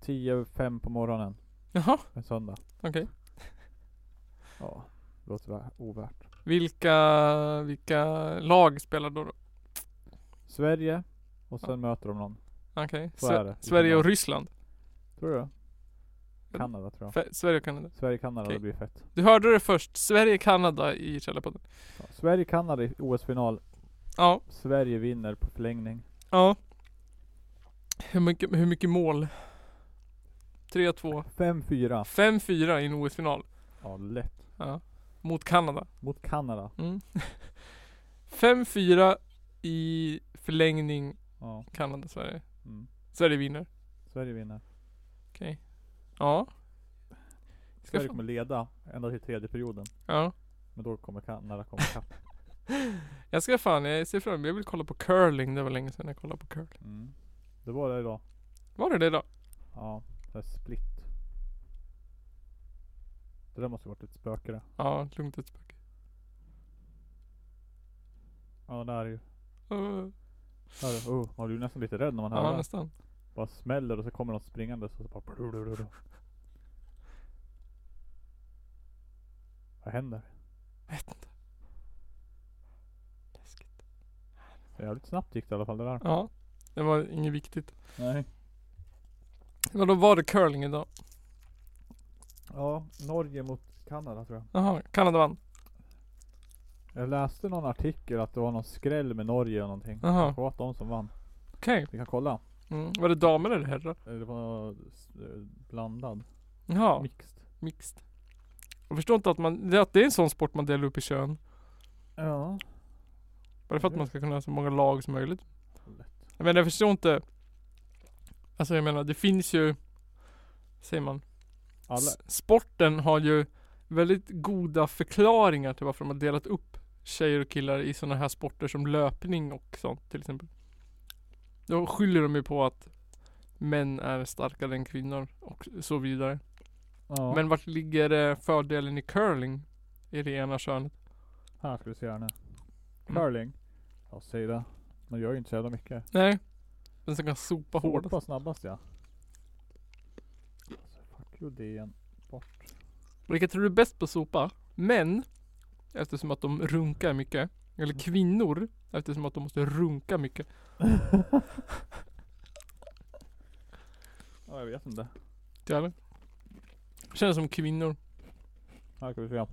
S3: 10 över 5 på morgonen
S2: Jaha,
S3: en söndag.
S2: okej.
S3: Ja, det låter vä- ovärt.
S2: Vilka, vilka lag spelar då? då?
S3: Sverige och sen möter de någon.
S2: Okej.
S3: Så är det.
S2: Sve- Sverige och Ryssland.
S3: Tror du? Kanada tror jag.
S2: Fe- Sverige och Kanada.
S3: Sverige-Kanada,
S2: Okej.
S3: det blir fett.
S2: Du hörde det först. Sverige-Kanada i Källarpodden.
S3: Ja, Sverige-Kanada i OS-final.
S2: Ja.
S3: Sverige vinner på förlängning.
S2: Ja. Hur mycket, hur mycket mål? 3-2.
S3: 5-4.
S2: 5-4 i en OS-final.
S3: Ja, lätt.
S2: Ja. Mot Kanada.
S3: Mot Kanada.
S2: Mm. 5-4 i förlängning
S3: Ja.
S2: Kanada-Sverige.
S3: Mm.
S2: Sverige vinner.
S3: Sverige vinner.
S2: Okej. Ja. Ska jag
S3: Sverige
S2: få?
S3: kommer leda ända till tredje perioden.
S2: Ja.
S3: Men då kommer Kanada komma ikapp.
S2: Jag ska fan, jag ser fram emot, jag vill kolla på curling. Det var länge sedan jag kollade på curling.
S3: Mm. Det var det idag.
S2: Var det det då?
S3: Ja, det är split. Det där måste varit ett spöke det.
S2: Ja, lugnt ett spöke.
S3: Ja, det här är ju.
S2: Uh,
S3: Här är, oh, man blir ju nästan lite rädd när man hör
S2: ja,
S3: det.
S2: nästan.
S3: Bara smäller och så kommer något springande så bara blulululu. Vad händer?
S2: Vet inte. Läskigt.
S3: Jävligt snabbt gick det i alla fall det där.
S2: Ja, det var inget viktigt.
S3: Nej.
S2: Vadå var det curling idag?
S3: Ja, Norge mot Kanada tror jag.
S2: Jaha, Kanada vann.
S3: Jag läste någon artikel att det var någon skräll med Norge och någonting.
S2: Jaha,
S3: Det var att de som vann.
S2: okej.
S3: Vi kan kolla.
S2: Mm. Var det damer eller herrar?
S3: Eh, Det var eh, blandad.
S2: Jaha,
S3: Mixed.
S2: mixed. Jag förstår inte att man, det- att det är en sån sport man delar upp i kön.
S3: Ja.
S2: Bara för att
S3: Ja.
S2: man ska kunna ha så många lag som möjligt.
S3: Lätt.
S2: Jag menar jag förstår inte. Alltså jag menar det finns ju, säger man,
S3: Alla,
S2: S- Sporten har ju väldigt goda förklaringar till varför de har delat upp tjejer och killar i sådana här sporter som löpning och sånt till exempel. Då skyller de ju på att män är starkare än kvinnor och så vidare.
S3: ja.
S2: Men vart ligger eh, fördelen i curling? I det ena könet?
S3: Här ska vi se här nu.
S2: Mm.
S3: Curling. Ja, säg det. Man gör ju inte så jävla mycket.
S2: Nej. Den som kan sopa hårdast.
S3: Sopa snabbast ja. Alltså, fuck you DN. Bort.
S2: Vilka tror du är bäst på att sopa? Män, eftersom att de runkar mycket. Eller kvinnor, eftersom att de måste runka mycket.
S3: Ja, jag vet inte.
S2: Jävlar. Känns som kvinnor.
S3: Här ska vi se.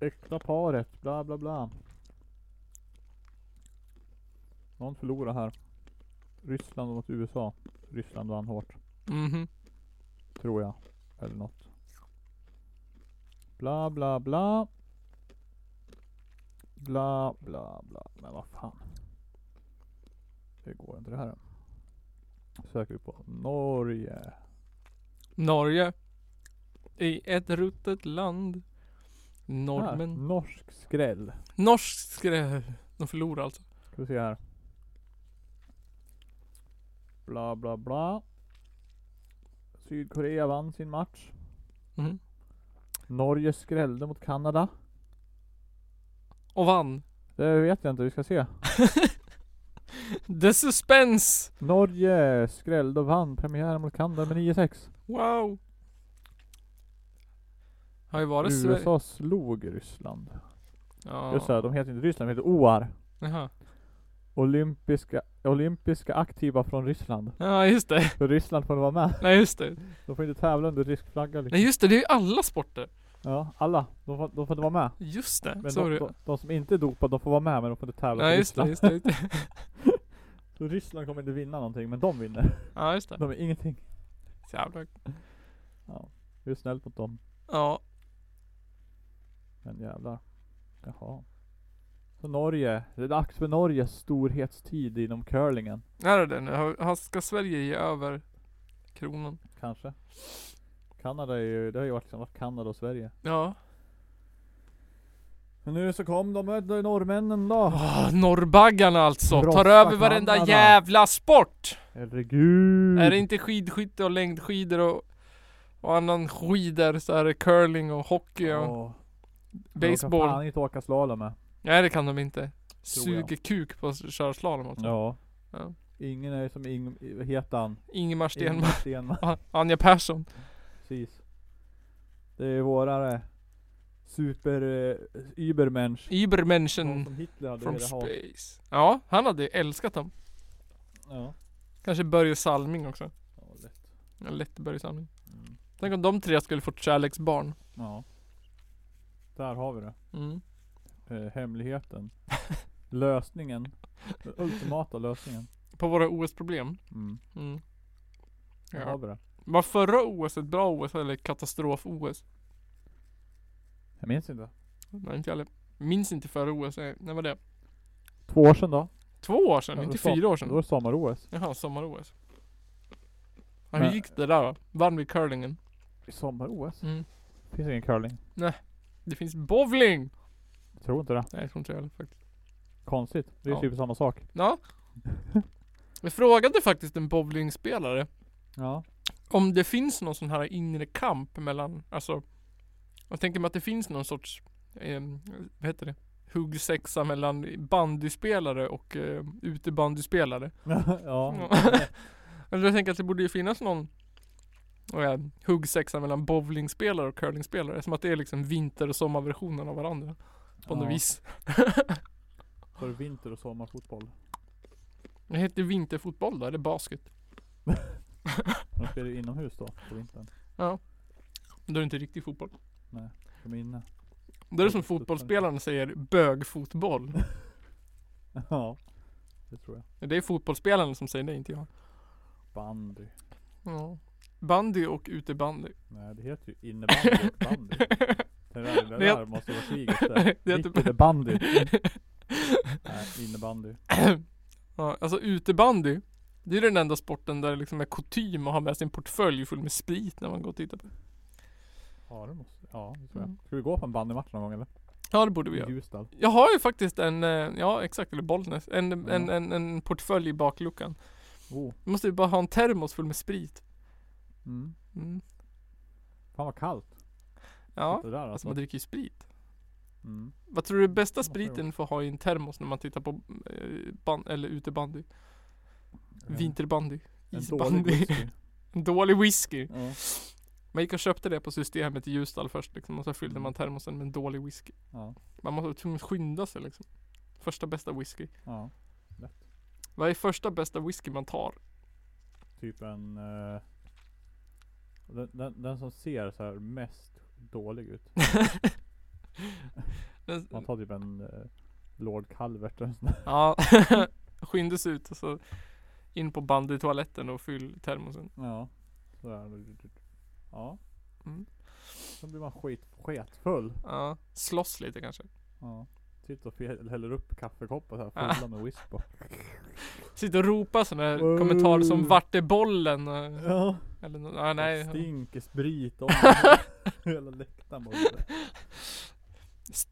S3: Äkta paret. Bla bla bla. Någon förlorar här. Ryssland mot USA. Ryssland vann hårt.
S2: Mhm.
S3: Tror jag. Eller något. Bla bla bla. Bla bla bla. Men vad fan. Det går inte det här. Söker vi på Norge.
S2: Norge. I ett ruttet land. Norrmän.
S3: Här, norsk skräll.
S2: Norsk skräll. De förlorar alltså.
S3: Ska vi se här. Bla bla bla. Sydkorea vann sin match.
S2: Mhm.
S3: Norge skrällde mot Kanada.
S2: Och vann.
S3: Det vet jag inte, vi ska se.
S2: The suspense!
S3: Norge skrällde och vann premiären mot Kanada med 9-6.
S2: Wow! Har ju varit Sverige.
S3: USA slog Ryssland.
S2: Ja.
S3: Just det, här, de heter inte Ryssland, de heter OAR.
S2: Jaha.
S3: Olympiska, olympiska aktiva från Ryssland.
S2: Ja just det.
S3: För Ryssland får vara med.
S2: Nej just det.
S3: De får inte tävla under rysk flagga liksom.
S2: Nej just det, det är ju alla sporter.
S3: Ja, alla. De får, de får inte vara med.
S2: Just det.
S3: Men de,
S2: Sorry.
S3: de, de som inte är dopade, de får vara med men de får inte tävla för
S2: Nej just det,
S3: Ryssland.
S2: just det. Just det.
S3: Så Ryssland kommer inte vinna någonting, men de vinner.
S2: Ja just det.
S3: De är ingenting.
S2: Jävlar.
S3: Ja, det är snällt mot dem.
S2: Ja.
S3: Men jävlar. Jaha. Så Norge. Det är dags för Norges storhetstid inom curlingen.
S2: Är det det nu? Har- har- Ska Sverige ge över kronan?
S3: Kanske. Kanada är ju, det har ju varit, liksom varit Kanada och Sverige.
S2: Ja.
S3: Men nu så kom de med de norrmännen då.
S2: Ah, norrbaggarna alltså, tar
S3: Krossa
S2: över varenda
S3: grannarna.
S2: jävla sport!
S3: Herregud.
S2: Är det inte skidskytte och längdskidor och, och annan skidor så är det curling och hockey och
S3: Åh, De
S2: baseball.
S3: kan fan inte åka slalom med.
S2: Nej det kan de inte.
S3: Tror jag.
S2: Suger kuk på alltså. att köra slalom också.
S3: Ja.
S2: Ja.
S3: Ingen är som Ing... Vad heter han?
S2: Ingemar
S3: Ingemar
S2: Stenmark,
S3: Stenman.
S2: Anja Persson.
S3: Precis. Det är våra eh, super... Eh, übermensch. De
S2: Übermenschen
S3: som Hitler hade
S2: from
S3: velat ha.
S2: space. Ja, han hade ju älskat dem.
S3: Ja.
S2: Kanske Börje Salming också.
S3: Ja, lätt.
S2: Ja, lätt Börje Salming.
S3: Mm.
S2: Tänk om de tre skulle fått kärleksbarn.
S3: Ja. Där har vi det.
S2: Mm.
S3: Eh, hemligheten. lösningen. Den ultimata lösningen.
S2: På våra OS-problem.
S3: Mm.
S2: Mm.
S3: Där har vi det.
S2: Var förra OS ett bra OS eller katastrof-OS?
S3: Jag minns inte.
S2: Nej inte jag heller. Minns inte förra OS. Nej, när var det?
S3: Två år sedan då?
S2: Två år sedan,
S3: Ja,
S2: inte
S3: det var-
S2: fyra år
S3: Då
S2: sedan.
S3: var det sommar-OS.
S2: Jaha, sommar-OS. Ja,
S3: Men-
S2: hur gick det där då? Vann vi curlingen?
S3: Sommar-OS?
S2: Mm.
S3: Finns ingen curling?
S2: Det finns bowling!
S3: Jag tror inte det. typ
S2: Nej, jag tror inte jag heller faktiskt.
S3: Konstigt. Det är
S2: Ja.
S3: typ samma sak.
S2: Ja. Jag frågade faktiskt en bowlingspelare
S3: Ja.
S2: om det finns någon sån här inre kamp mellan, alltså Jag tänker mig att det finns någon sorts, eh, vad heter det? Huggsexa mellan bandyspelare och eh, utebandyspelare.
S3: ja.
S2: Men jag tänker att det borde ju finnas någon eh, huggsexa mellan bowlingspelare och curlingspelare. Som att det är liksom vinter och sommarversionen av varandra. På något
S3: Ja.
S2: vis.
S3: För vinter och sommarfotboll.
S2: Det heter vinterfotboll då, eller basket?
S3: De spelar ju inomhus då, på vintern.
S2: Då är det inte riktig fotboll.
S3: De är inne.
S2: Då är det som fotbollsspelaren säger, bögfotboll.
S3: Ja. Det tror jag.
S2: Det är fotbollsspelaren som säger det, inte jag.
S3: Bandy.
S2: Ja. Bandy och utebandy.
S3: Nej, det heter ju innebandy och bandy. Det där, det
S2: Det-
S3: där måste vara kriget där.
S2: Det är
S3: Mitt
S2: typ-
S3: i det bandy. Nej, innebandy.
S2: ja, alltså utebandy. Det är den enda sporten där det liksom är kutym att ha med sin portfölj full med sprit när man går och tittar på det.
S3: Ja, det måste Ja, det tror jag.
S2: Mm.
S3: Ska vi gå på en bandymatch någon gång eller?
S2: Ja det borde vi
S3: I
S2: göra.
S3: Ljusdal.
S2: Jag har ju faktiskt en, eh, ja exakt, eller Bollnäs. En,
S3: Ja.
S2: en, en, en portfölj i bakluckan.
S3: Oh.
S2: Jag måste ju bara ha en termos full med sprit.
S3: Mm.
S2: Mm.
S3: Fan vad kallt.
S2: Ja,
S3: Det där
S2: alltså
S3: alltså.
S2: man dricker ju sprit.
S3: Mm.
S2: Vad tror du är bästa
S3: Måste jag
S2: spriten får ha i en termos när man tittar på eh, ban- eller utebandy? Vinterbandy.
S3: En
S2: Isbandy.
S3: dålig whisky.
S2: en dålig whisky.
S3: Ja.
S2: Man gick och köpte det på systemet i Ljusdal först liksom, och så fyllde man termosen med en dålig whisky.
S3: Ja.
S2: Man måste var tvungen att skynda sig liksom. Första bästa whisky.
S3: ja.
S2: Vad är första bästa whisky man tar?
S3: Typ en... eh, den, den, den som ser så här mest dålig ut.
S2: Den-
S3: Man tar typ en eh, Lord Calvert eller sån där.
S2: ja, skynda sig ut och så in på bandytoaletten och fyll termosen.
S3: Ja. Sådär. Ja.
S2: Mm.
S3: Då blir man skit, sketfull.
S2: Ja, slåss lite kanske.
S3: Ja. Sitter och fel- häller upp kaffekoppar så
S2: Ja.
S3: här fulla med whisky på.
S2: Sitter och ropa sådana här
S3: Wow.
S2: kommentarer som vart är bollen? Eh,
S3: Ja.
S2: Eller nå- ja,
S3: Nej.
S2: nej.
S3: Stinker sprit om hela läktaren bara.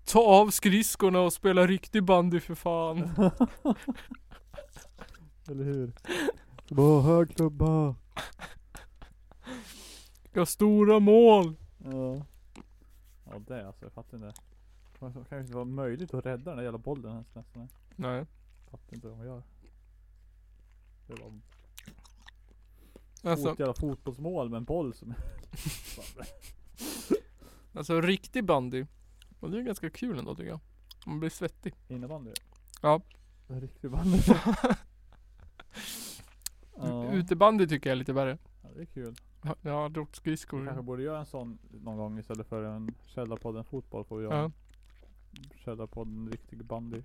S2: Ta av skridskorna och spela riktig bandy för fan.
S3: Eller hur? Bara hög klubba.
S2: Jag har stora mål.
S3: Ja. Ja det är alltså, jag fattar inte. Det kan ju inte vara möjligt att rädda den där jävla bollen ens nästan. Jag
S2: Nej.
S3: fattar inte vad de gör. Det var ett
S2: Alltså,
S3: jävla fotbollsmål med en boll som...
S2: Alltså riktig bandy. Och det är ganska kul ändå tycker jag. Man blir svettig.
S3: Innebandy?
S2: Ja.
S3: En riktig bandy. ja.
S2: Utebandy tycker jag är lite värre.
S3: ja, det är kul.
S2: Ja, Jag har aldrig åkt
S3: Vi kanske
S2: skridskor.
S3: borde göra en sån någon gång istället för en källarpodden fotboll får vi göra.
S2: Ja.
S3: Ja. Källarpodden riktig bandy.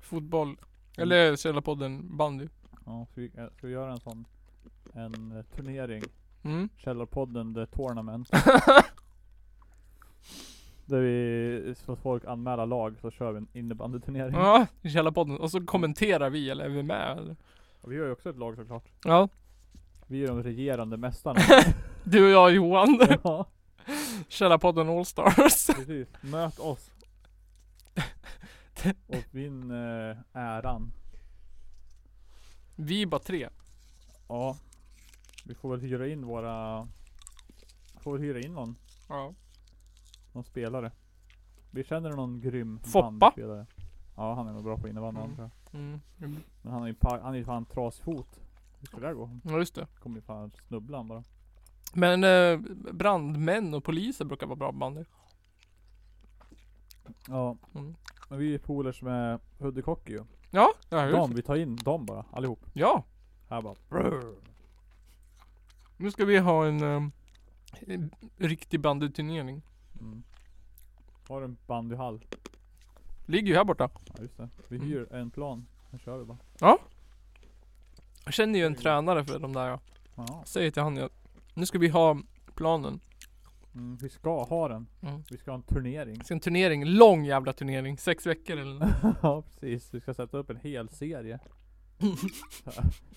S2: Fotboll. Eller Källarpodden bandy.
S3: Ja, ska, vi, eh, ska vi göra en sån en eh, turnering?
S2: Mm.
S3: Källarpodden the tournament. Där vi, så att folk anmäla lag så kör vi en innebandyturnering.
S2: Ja, Källarpodden. Och så kommenterar vi eller är vi med eller?
S3: Och vi har ju också ett lag såklart.
S2: Ja.
S3: Vi är de regerande mästarna.
S2: Du och jag Johan.
S3: ja,
S2: Källarpodden Allstars.
S3: precis. Möt oss. Och vinn eh, äran.
S2: Vi är bara tre.
S3: Ja. Vi får väl hyra in våra... Får väl hyra in någon,
S2: Ja.
S3: någon spelare. Vi känner någon grym
S2: Foppa?
S3: bandspelare. Ja han är nog bra på innebandy
S2: Mm.
S3: tror jag.
S2: Mm.
S3: Men han är ju pa- han är ju fan trasfot. Hur ska det här gå?
S2: Ja just det.
S3: Kommer ju fan snubbla han bara.
S2: Men eh, brandmän och poliser brukar vara bra på bandy.
S3: Ja.
S2: Mm.
S3: Men vi är polers med Huddekocke ju.
S2: Ja, ja
S3: De,
S2: just det.
S3: vi tar in dem bara. Allihop.
S2: Ja.
S3: Här bara.
S2: Nu ska vi ha en eh, en riktig bandyturnering.
S3: Mm. Har en bandyhall.
S2: Ligger ju här borta.
S3: Ja just det. Vi
S2: Mm.
S3: hyr en plan. Sen kör vi bara.
S2: Jag känner ju en tränare för de där ja.
S3: Ja.
S2: Säger till han jag, nu ska vi ha planen.
S3: Mm, vi ska ha den.
S2: Mm.
S3: Vi ska ha en turnering.
S2: Vi ska ha en turnering, lång jävla turnering, sex veckor eller nåt.
S3: ja precis, vi ska sätta upp en hel serie.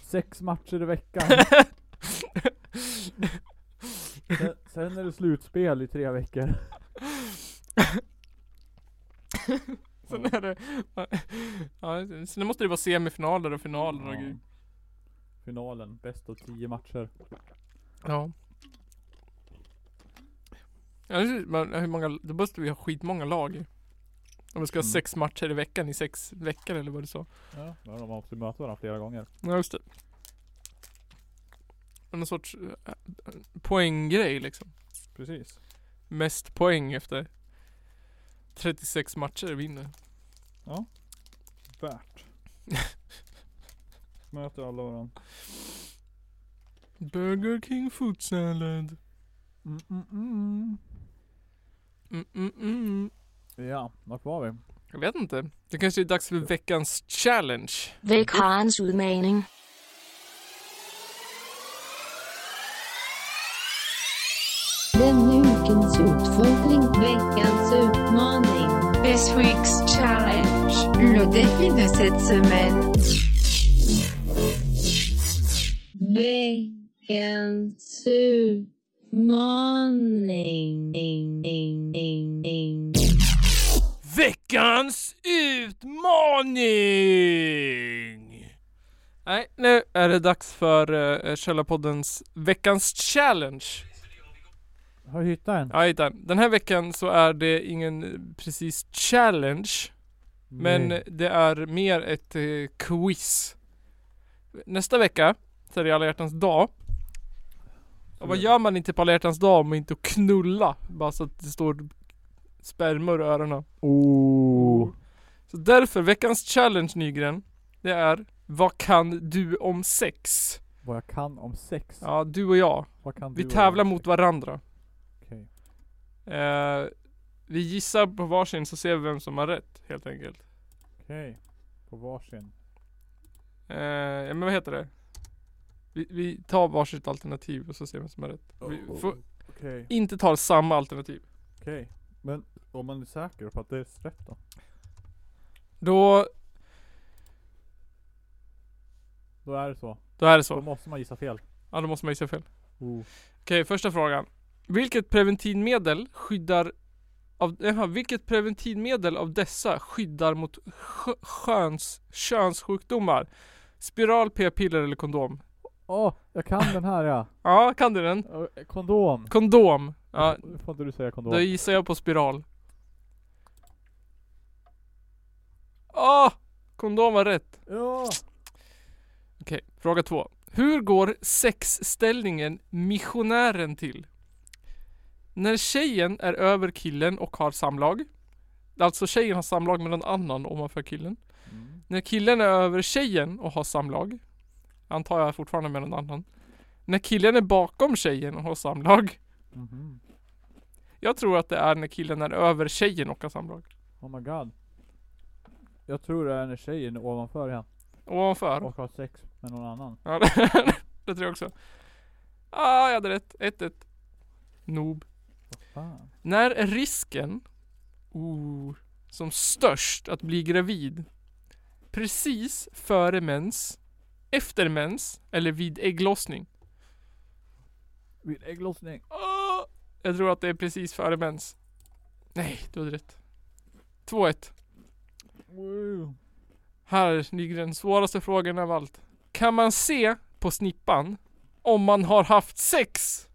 S3: Sex matcher i veckan. sen, sen är det slutspel i tre veckor.
S2: Sen är det, ja, sen måste det vara semifinaler och finaler och
S3: Ja.
S2: grejer.
S3: finalen. Bäst av tio matcher.
S2: Ja. Ja, det är- Men hur många, då måste vi ha skitmånga lag. Om vi ska ha
S3: Mm.
S2: sex matcher i veckan i sex veckor eller vad du sa.
S3: Ja. Men de måste möta varandra flera gånger.
S2: Ja just det. Någon sorts eh, eh, poänggrej liksom.
S3: Precis.
S2: Mest poäng efter 36 matcher vinner.
S3: Värt. Möter alla varandra.
S2: Burger King food salad.
S3: Mm, mm, mm.
S2: Mm, mm, mm.
S3: Ja, vart var vi?
S2: Jag vet inte. Det kanske är dags för veckans challenge.
S4: Vekarens udmaning.
S5: Den ukens utfordring, veckans utmaning.
S6: This week's challenge. Le défi de cette semaine.
S5: Veckans utmaning. Ding, ding, ding, ding.
S2: Veckans utmaning! Nej, nu är det dags för uh, Källarpoddens veckans challenge.
S3: Har du hittat en?
S2: Ja, jag hittade den. Den här veckan så är det ingen eh, precis challenge, men
S3: Nej.
S2: det är mer ett eh, quiz. Nästa vecka så är det alla hjärtans dag. Och vad gör man inte på alla hjärtans dag om inte att knulla? Bara så att det står spermor i öronen.
S3: Oh.
S2: Så därför, veckans challenge Nygren, det är Vad kan du om sex?
S3: Vad jag kan om sex.
S2: Ja, du och jag.
S3: Vad kan
S2: Vi
S3: du
S2: tävlar
S3: om
S2: mot
S3: sex?
S2: varandra.
S3: Okej.
S2: Eh, vi gissar på varsin så ser vi vem som har rätt, helt enkelt.
S3: Okej. På varsin.
S2: Eh, ja, men vad heter det? Vi, vi tar varsitt alternativ och så ser vi vem som har rätt.
S3: Oh.
S2: Vi får
S3: Okej.
S2: inte ta samma alternativ.
S3: Okej. Men om man är säker på att det är rätt då?
S2: Då,
S3: Då är det så.
S2: då är det
S3: Då
S2: så.
S3: måste man gissa fel.
S2: Ja, då måste man gissa fel.
S3: Oh.
S2: Okej, första frågan. Vilket preventivmedel skyddar av, jaha, vilket preventivmedel av dessa skyddar mot skö- sköns, könssjukdomar? Spiral, p-piller eller kondom?
S3: Åh, jag kan den här ja.
S2: Ja, kan du den?
S3: Eh, Kondom.
S2: Kondom! Ja,
S3: Nu får inte du säga kondom.
S2: då gissar jag på spiral. Ah! Kondom var rätt.
S3: Ja!
S2: Okej, fråga två. Hur går sexställningen missionären till? När tjejen är över killen och har samlag. Alltså tjejen har samlag med någon annan ovanför killen.
S3: Mm.
S2: När killen är över tjejen och har samlag. Antar jag fortfarande med någon annan. När killen är bakom tjejen och har samlag.
S3: Mhm.
S2: Jag tror att det är när killen är över tjejen och har samlag.
S3: Oh my god. Jag tror det är när tjejen är ovanför henne
S2: Ovanför.
S3: och har sex med någon annan.
S2: Ja, det tror jag också. Ah, jag hade rätt. 1-1. Noob.
S3: Vad fan?
S2: När är risken oh, som störst att bli gravid? Precis före mens, efter mens eller vid ägglossning?
S3: Vid ägglossning.
S2: Ah, jag tror att det är precis före mens. Nej, du hade rätt. 2-1.
S3: Wow.
S2: Här Nygren, svåraste frågan av allt. Kan man se på snippan om man har haft sex?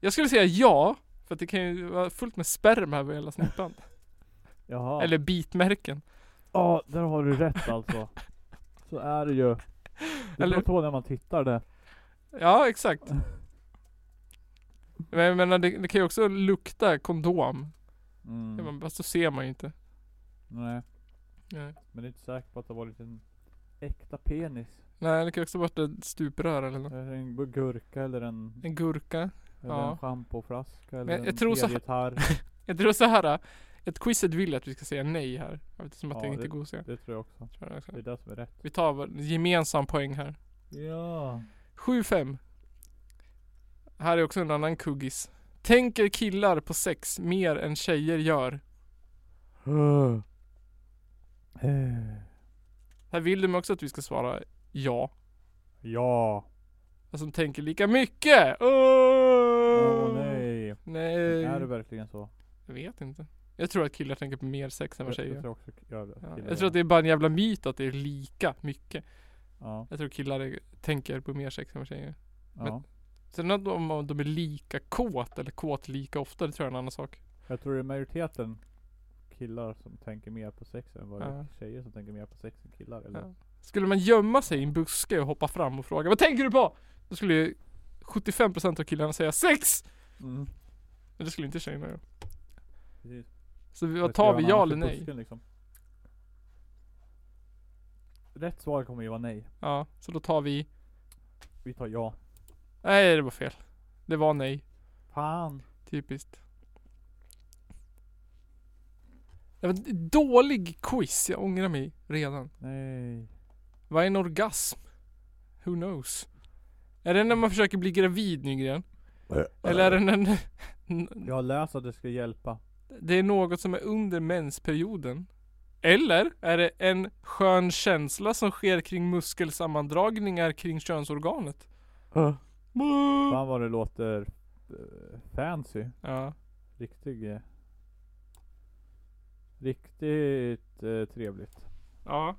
S2: Jag skulle säga ja, för att det kan ju vara fullt med sperma över hela snippan.
S3: Jaha.
S2: Eller bitmärken.
S3: Ja, där har du rätt alltså. Så är det ju. Det
S2: Eller-
S3: beror på när man tittar det.
S2: Ja, exakt. Men jag menar, det, det kan ju också lukta kondom.
S3: Mm.
S2: Mm. Fast så ser man ju inte.
S3: Nej,
S2: Nej,
S3: men det är inte säkert på att det var en liten äkta penis.
S2: Nej det kan ju också vara ett stuprör eller något.
S3: Eller en bu- gurka eller en,
S2: En gurka.
S3: eller
S2: ja.
S3: en schampoflaska eller
S2: Men jag
S3: en
S2: tror så här-
S3: elgitarr.
S2: Jag tror så här. äh, Ett quizet vill att vi ska säga nej här. Eftersom att
S3: Ja,
S2: det inte
S3: det-
S2: går att säga.
S3: Det tror jag också.
S2: Tror jag också.
S3: Det är det som är rätt.
S2: Vi tar vår gemensam poäng här.
S3: Ja.
S2: 7-5. Här är också en annan kuggis. Tänker killar på sex mer än tjejer gör? Här vill de också att vi ska svara ja.
S3: ja.
S2: Alltså tänker lika mycket! Åh
S3: Åh nej.
S2: nej. Eh.
S3: Är det verkligen så?
S2: Jag vet inte. Jag tror att killar tänker på mer sex än vad
S3: Jag, jag
S2: tjejer
S3: tror också jag,
S2: ja, Jag tror att det är bara en jävla myt att det är lika mycket
S3: Ja,
S2: Jag tror killar är- tänker på mer sex än vad tjejer
S3: ja.
S2: Sen om de, om de är lika kåt eller kåt lika ofta, det tror jag är en annan sak
S3: Jag tror det är majoriteten killar som tänker mer på sex än vad det
S2: Ja.
S3: är tjejer som tänker mer på sex än killar. Eller?
S2: Ja. Skulle man gömma sig i en buske och hoppa fram och fråga Vad tänker du på? Då skulle ju 75% av killarna säga sex!
S3: Mm.
S2: Men det skulle inte tjejerna göra
S3: Precis.
S2: Så vi-
S3: Vad
S2: vad
S3: ska
S2: tar
S3: man
S2: vi?
S3: annars
S2: Ja
S3: i
S2: eller nej?
S3: busken, liksom? Rätt svar kommer ju vara nej.
S2: Ja, så då tar vi
S3: Vi tar ja.
S2: Nej det var fel Det var nej,
S3: Fan!
S2: typiskt Det var en dålig quiz, jag ångrar mig redan
S3: Nej.
S2: Vad är en orgasm? Who knows? Är det när man försöker bli gravid Nygren? Eller är det när...
S3: Jag har läst att det ska hjälpa.
S2: Det är något som är under mensperioden. Eller är det en skön känsla som sker kring muskelsammandragningar kring könsorganet?
S3: Fan vad det låter eh, fancy.
S2: Ja.
S3: Riktig... eh, Riktigt eh, trevligt.
S2: Ja.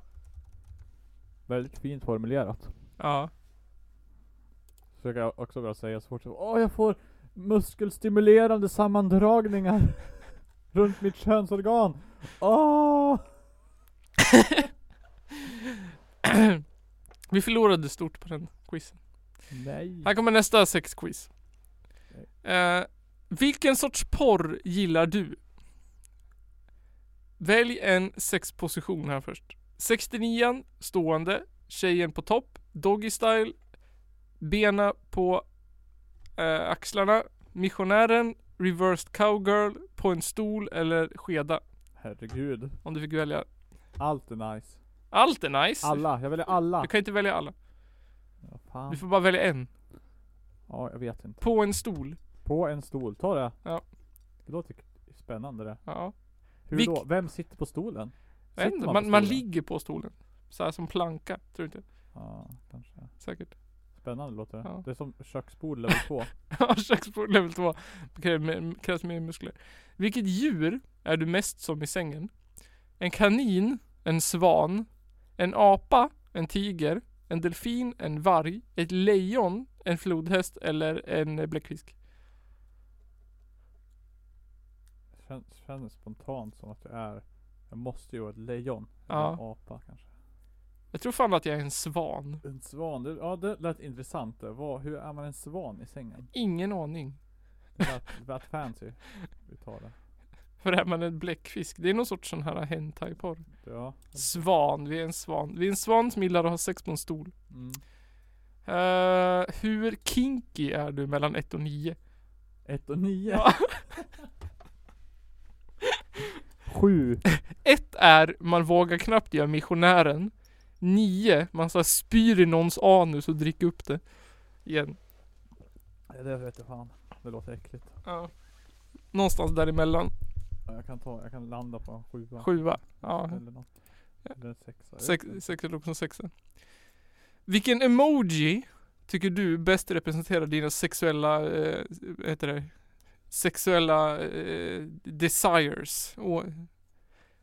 S3: Väldigt fint formulerat.
S2: Ja.
S3: Så jag kan också bara säga så fort som Åh jag får muskelstimulerande sammandragningar runt mitt könsorgan. Åh!
S2: Vi förlorade stort på den quizen.
S3: Nej.
S2: Här kommer nästa sexquiz. Eh, vilken sorts porr gillar du? Välj en sexposition här först. 69 stående, tjejen på topp, doggy style, bena på eh, axlarna, missionären, reversed cowgirl, på en stol eller skeda.
S3: Herregud.
S2: Om du fick välja.
S3: Allt är nice.
S2: Allt är nice.
S3: Alla. Jag väljer alla.
S2: Du kan inte välja alla.
S3: Ja, fan.
S2: Du får bara välja en.
S3: Ja, jag vet inte.
S2: På en stol.
S3: På en stol. Ta det.
S2: Ja.
S3: Det låter k- spännande det.
S2: Ja.
S3: Hur
S2: Vilk-
S3: då? Vem sitter på stolen?
S2: Jag vet
S3: Sitter
S2: inte,
S3: man på
S2: man, man
S3: stolen?
S2: ligger på stolen. Så här som planka. Tror du inte?
S3: Ja, kanske.
S2: Säkert.
S3: Spännande låter det.
S2: Ja.
S3: Det är som köksbord level 2.
S2: Ja, köksbord level 2. Krävs mer muskler. Vilket djur är du mest som i sängen? En kanin, en svan, en apa, en tiger, en delfin, en varg, ett lejon, en flodhäst eller en eh, bläckfisk?
S3: Känns, känns spontant som att jag är Jag måste ju vara ett lejon.
S2: Ja.
S3: Eller en apa kanske.
S2: Jag tror fan att jag är en svan.
S3: En svan, det, ja det lät intressant det. Vad, hur är man en svan i sängen?
S2: Ingen aning.
S3: Det lät, det lät fancy. Vi tar det.
S2: För är man en bläckfisk? Det är någon sorts sån här
S3: Mm.
S2: hentai-porr.
S3: Ja.
S2: Svan, vi är en svan. Vi är en svan som gillar att ha sex på en stol.
S3: Mm.
S2: Eh, hur kinky är du mellan 1 och 9?
S3: Ett och nio.
S2: Ja.
S3: Sju.
S2: 1 är man vågar knappt göra missionären. 9 man så här spyr i någons anus och dricker upp det. Igen.
S3: Ja, Det vet jag fan. Det låter äckligt.
S2: Ja. Någonstans däremellan.
S3: Ja, Jag kan ta, jag kan landa på en sjua.
S2: 7 Ja.
S3: Eller något. Eller en sexa. jag
S2: Sex,
S3: vet inte.
S2: sex upp som sexa. Vilken emoji tycker du bäst representerar dina sexuella, eh, vad heter det? Sexuella eh, desires? Och,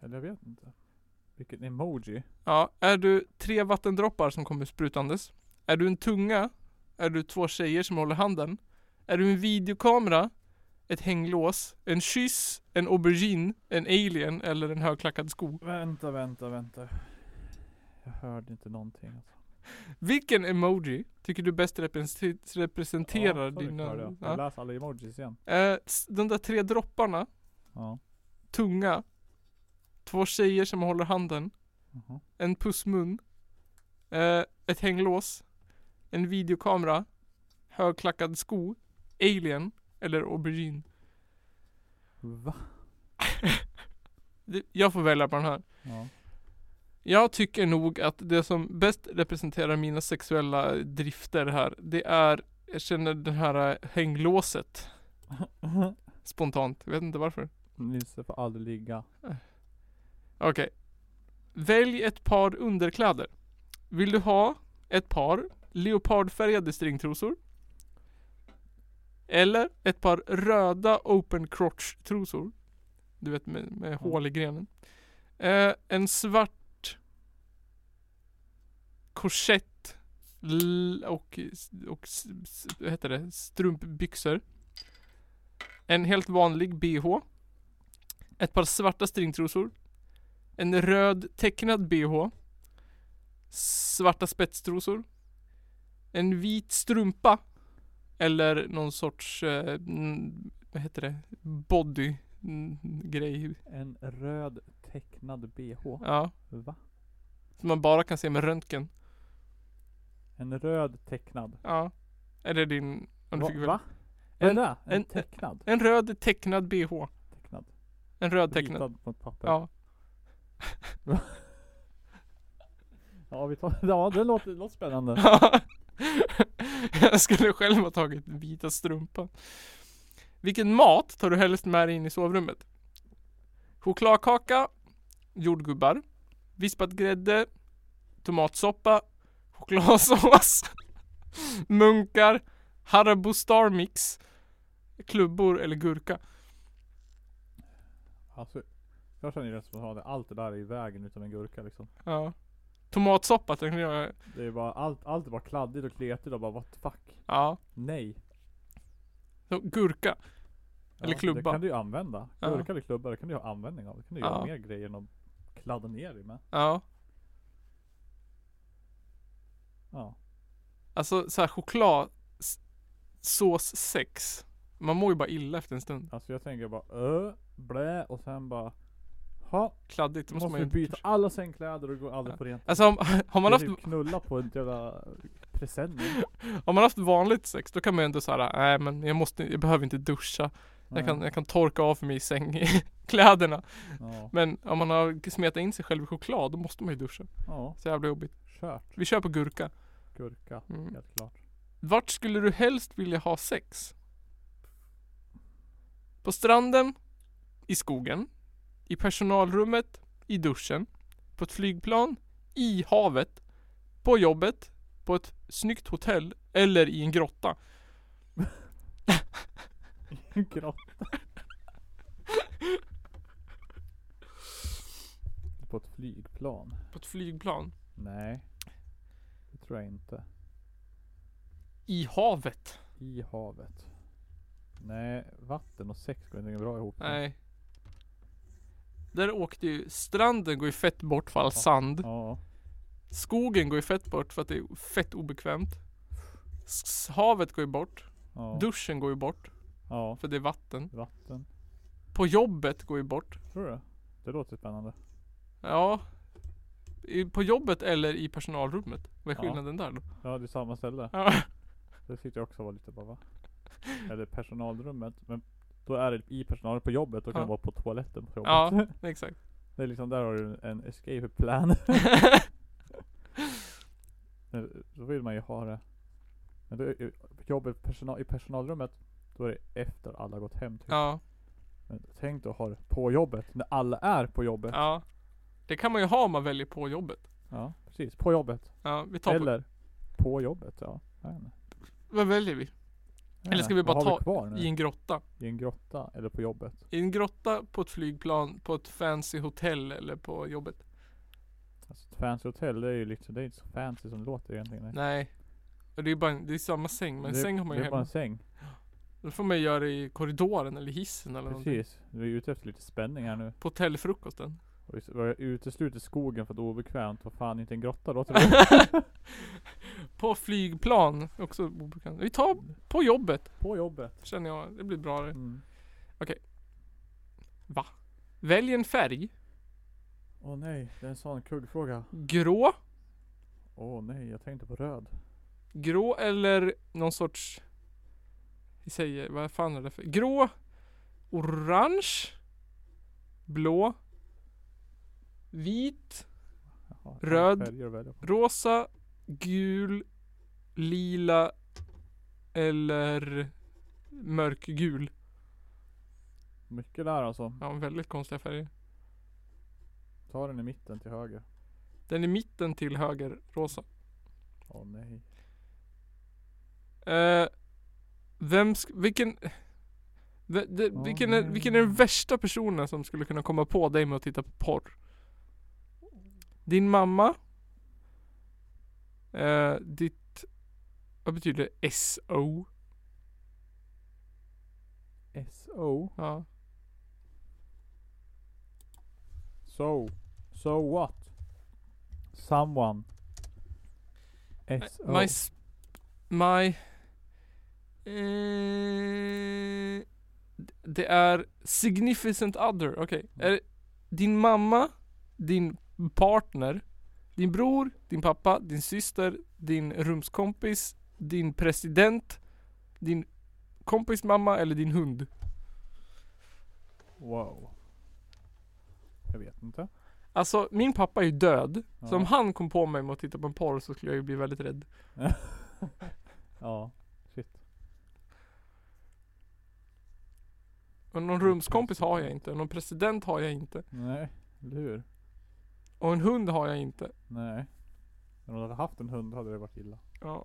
S3: Eller jag vet inte. Vilken emoji.
S2: Ja, är du tre vattendroppar som kommer sprutandes? Är du en tunga? Är du två tjejer som håller handen? Är du en videokamera? Ett hänglås? En kyss? En aubergine? En alien? Eller en högklackad sko?
S3: Vänta, vänta, vänta. Jag hörde inte någonting. Alltså.
S2: Vilken emoji tycker du bäst represent- representerar
S3: Ja, sorry, hörde
S2: dina...
S3: jag. Jag
S2: Ja.
S3: läser alla emojis igen.
S2: Eh, s- de där tre dropparna,
S3: Ja.
S2: tunga, två tjejer som håller handen,
S3: Mhm.
S2: en pussmun, eh, ett hänglås, en videokamera, högklackad sko, alien eller aubergine.
S3: Va?
S2: Det- Jag får välja på den här.
S3: Ja.
S2: Jag tycker nog att det som bäst representerar mina sexuella drifter här, det är, jag känner det här eh, hänglåset spontant. Jag vet inte varför.
S3: Nisse får aldrig ligga.
S2: Okej. Välj ett par underkläder. Vill du ha ett par leopardfärgade stringtrosor? Eller ett par röda open crotch trosor? Du vet med, med hål i grenen. Eh, en svart korsett l- och, och s- s- vad heter det? strumpbyxor. En helt vanlig bh. Ett par svarta stringtrosor. En röd tecknad bh. Svarta spetstrosor. En vit strumpa. Eller någon sorts, eh, mm, vad heter det, body mm, grej.
S3: En röd tecknad bh.
S2: Ja,
S3: Va?
S2: som man bara kan se med röntgen.
S3: En röd tecknad.
S2: Ja. Eller din, om du
S3: Va?
S2: fick välja.
S3: Va? Vad är
S2: En-
S3: det? En,
S2: en-
S3: tecknad?
S2: En röd tecknad bh.
S3: Tecknad.
S2: En röd tecknad.
S3: Ritad på ett papper.
S2: Ja.
S3: Ja, vi tar, ja det, låter, det låter spännande.
S2: Jag skulle själv ha tagit den vita strumpan. Vilken mat tar du helst med dig in i sovrummet? Chokladkaka, jordgubbar, vispat grädde, tomatsoppa, chokladsås, munkar, Haribo Star Mix, klubbor eller gurka.
S3: Alltså, jag känner ju rätt spontant att allt det där är i vägen utom en gurka liksom.
S2: Ja. Tomatsoppa tänkte jag.
S3: Det är bara, allt, allt är bara kladdigt och kletigt och bara what the fuck.
S2: Ja.
S3: Nej.
S2: Så, Gurka.
S3: Ja,
S2: Eller klubba.
S3: Det kan du ju använda.
S2: Ja.
S3: Gurka eller klubba, det kan du ju ha användning av. Det kan du
S2: Ja.
S3: göra mer grejer än att kladda ner dig med.
S2: Ja.
S3: Ja.
S2: Alltså så här choklad s- sås sex. Man mår ju bara illa efter en stund.
S3: Alltså jag tänker bara ö, blä och sen bara ha.
S2: Kladdigt.
S3: Då
S2: det
S3: måste,
S2: man
S3: vi
S2: ju
S3: byta alla sängkläder och gå aldrig
S2: Ja.
S3: på rent.
S2: Alltså om, har, man
S3: Det är
S2: haft,
S3: typ knulla på en jävla presenning.
S2: har man haft vanligt sex då kan man ju ändå såhär, nej men jag måste, jag behöver inte duscha. Jag kan, jag kan torka av mig i sängkläderna.
S3: Ja.
S2: Men om man har smetat in sig själv i choklad då måste man ju duscha.
S3: ja.
S2: Så jävla jobbigt.
S3: Kört.
S2: Vi kör på gurka.
S3: Gurka.
S2: Mm.
S3: Helt klart.
S2: Vart skulle du helst vilja ha sex? På stranden, i skogen, i personalrummet, i duschen, på ett flygplan, i havet, på jobbet, på ett snyggt hotell eller i en grotta.
S3: Grotta. på ett flygplan.
S2: På ett flygplan,
S3: Nej. Det tror jag inte.
S2: i havet.
S3: I havet. Nej, vatten och sex går inte bra ihop.
S2: Nej. Där åkte ju, stranden går ju fett bort för all sand.
S3: Ja.
S2: Skogen går ju fett bort för att det är fett obekvämt. S- Havet går ju bort.
S3: ja.
S2: Duschen går ju bort
S3: Ja.
S2: för det är vatten.
S3: Vatten.
S2: På jobbet går ju bort.
S3: Tror du? Det låter spännande.
S2: Ja. I, på jobbet eller i personalrummet. Vad är
S3: Ja.
S2: skillnaden där då?
S3: Ja, det är samma ställe.
S2: Ja.
S3: Det tyckte jag också var lite bara va? Eller personalrummet. Men då är det i personalen på jobbet. Då kan
S2: Ja.
S3: det vara på toaletten på jobbet.
S2: Ja, exakt.
S3: Det är liksom, där har du en escape plan. Men eh, Då vill man ju ha det. Men då är ju- jobbet personal, i personalrummet, då är det efter alla har gått hem. Typ.
S2: Ja,
S3: Men tänk då ha det på jobbet, när alla är på jobbet. Ja,
S2: ja. Det kan man ju ha om man väljer på jobbet.
S3: precis. På jobbet.
S2: Ja, vi tar på,
S3: Eller på jobbet, ja. Jag vet inte.
S2: Vad väljer vi?
S3: Jag vet
S2: Eller ska vi
S3: inte.
S2: bara
S3: Vad har
S2: ta
S3: kvar nu?
S2: I en grotta.
S3: I en grotta eller på jobbet?
S2: I en grotta, på ett flygplan, på ett fancy hotell eller på jobbet.
S3: Alltså ett fancy hotell, det är ju liksom, det är inte så fancy som det låter egentligen. nej.
S2: Nej. Och Det är ju bara en, det är samma säng, men
S3: det,
S2: säng har man ju
S3: Det är bara
S2: hemma.
S3: en säng.
S2: Då får man ju göra det i korridoren eller hissen eller någonting.
S3: Precis. Vi är ute efter lite spänning här nu.
S2: På hotellfrukosten.
S3: Och vi s- vi har uteslutit skogen för att det är obekvämt. Vad fan, inte en grotta låter det.
S2: På flygplan, också obekant. Vi tar på jobbet,
S3: På jobbet.
S2: känner jag. Det blir bra det.
S3: Mm.
S2: Välj en färg.
S3: Åh nej, det är en sån kuggfråga.
S2: Grå.
S3: Åh nej, jag tänkte på röd.
S2: Grå eller någon sorts... Vi säger, vad fan är det för... Grå. Orange. Blå. Vit.
S3: Jaha,
S2: Röd.
S3: färger att välja på.
S2: Rosa. Gul. Lila. Eller mörkgul.
S3: Mycket där alltså.
S2: Ja, väldigt konstiga färger.
S3: Ta den i mitten till höger.
S2: Den i mitten till höger, rosa.
S3: Åh nej.
S2: Eh, vem sk- vilken... V- det,
S3: Ja,
S2: vilken, är,
S3: det-
S2: vilken är den värsta personen som skulle kunna komma på dig med att titta på porr? Din mamma? Eh, ditt... Vad betyder det? SO?
S3: SO.
S2: Ja.
S3: So. So what? Someone. SO.
S2: Eh,
S3: Oh.
S2: My... s- My... Eh, d- det är significant other, okej. Är det din mamma, din partner, din bror, din pappa, din syster, din rumskompis, din president, din kompis mamma eller din hund?
S3: Wow. Jag vet inte.
S2: Alltså min pappa är ju död, så
S3: Ja.
S2: om han kom på mig med att titta på en porr så skulle jag ju bli väldigt rädd.
S3: Ja. Shit.
S2: Och någon rumskompis har jag inte, någon president har jag inte,
S3: Nej. Eller hur?
S2: och en hund har jag inte.
S3: Nej. Men om du hade haft en hund hade det varit illa.
S2: Ja.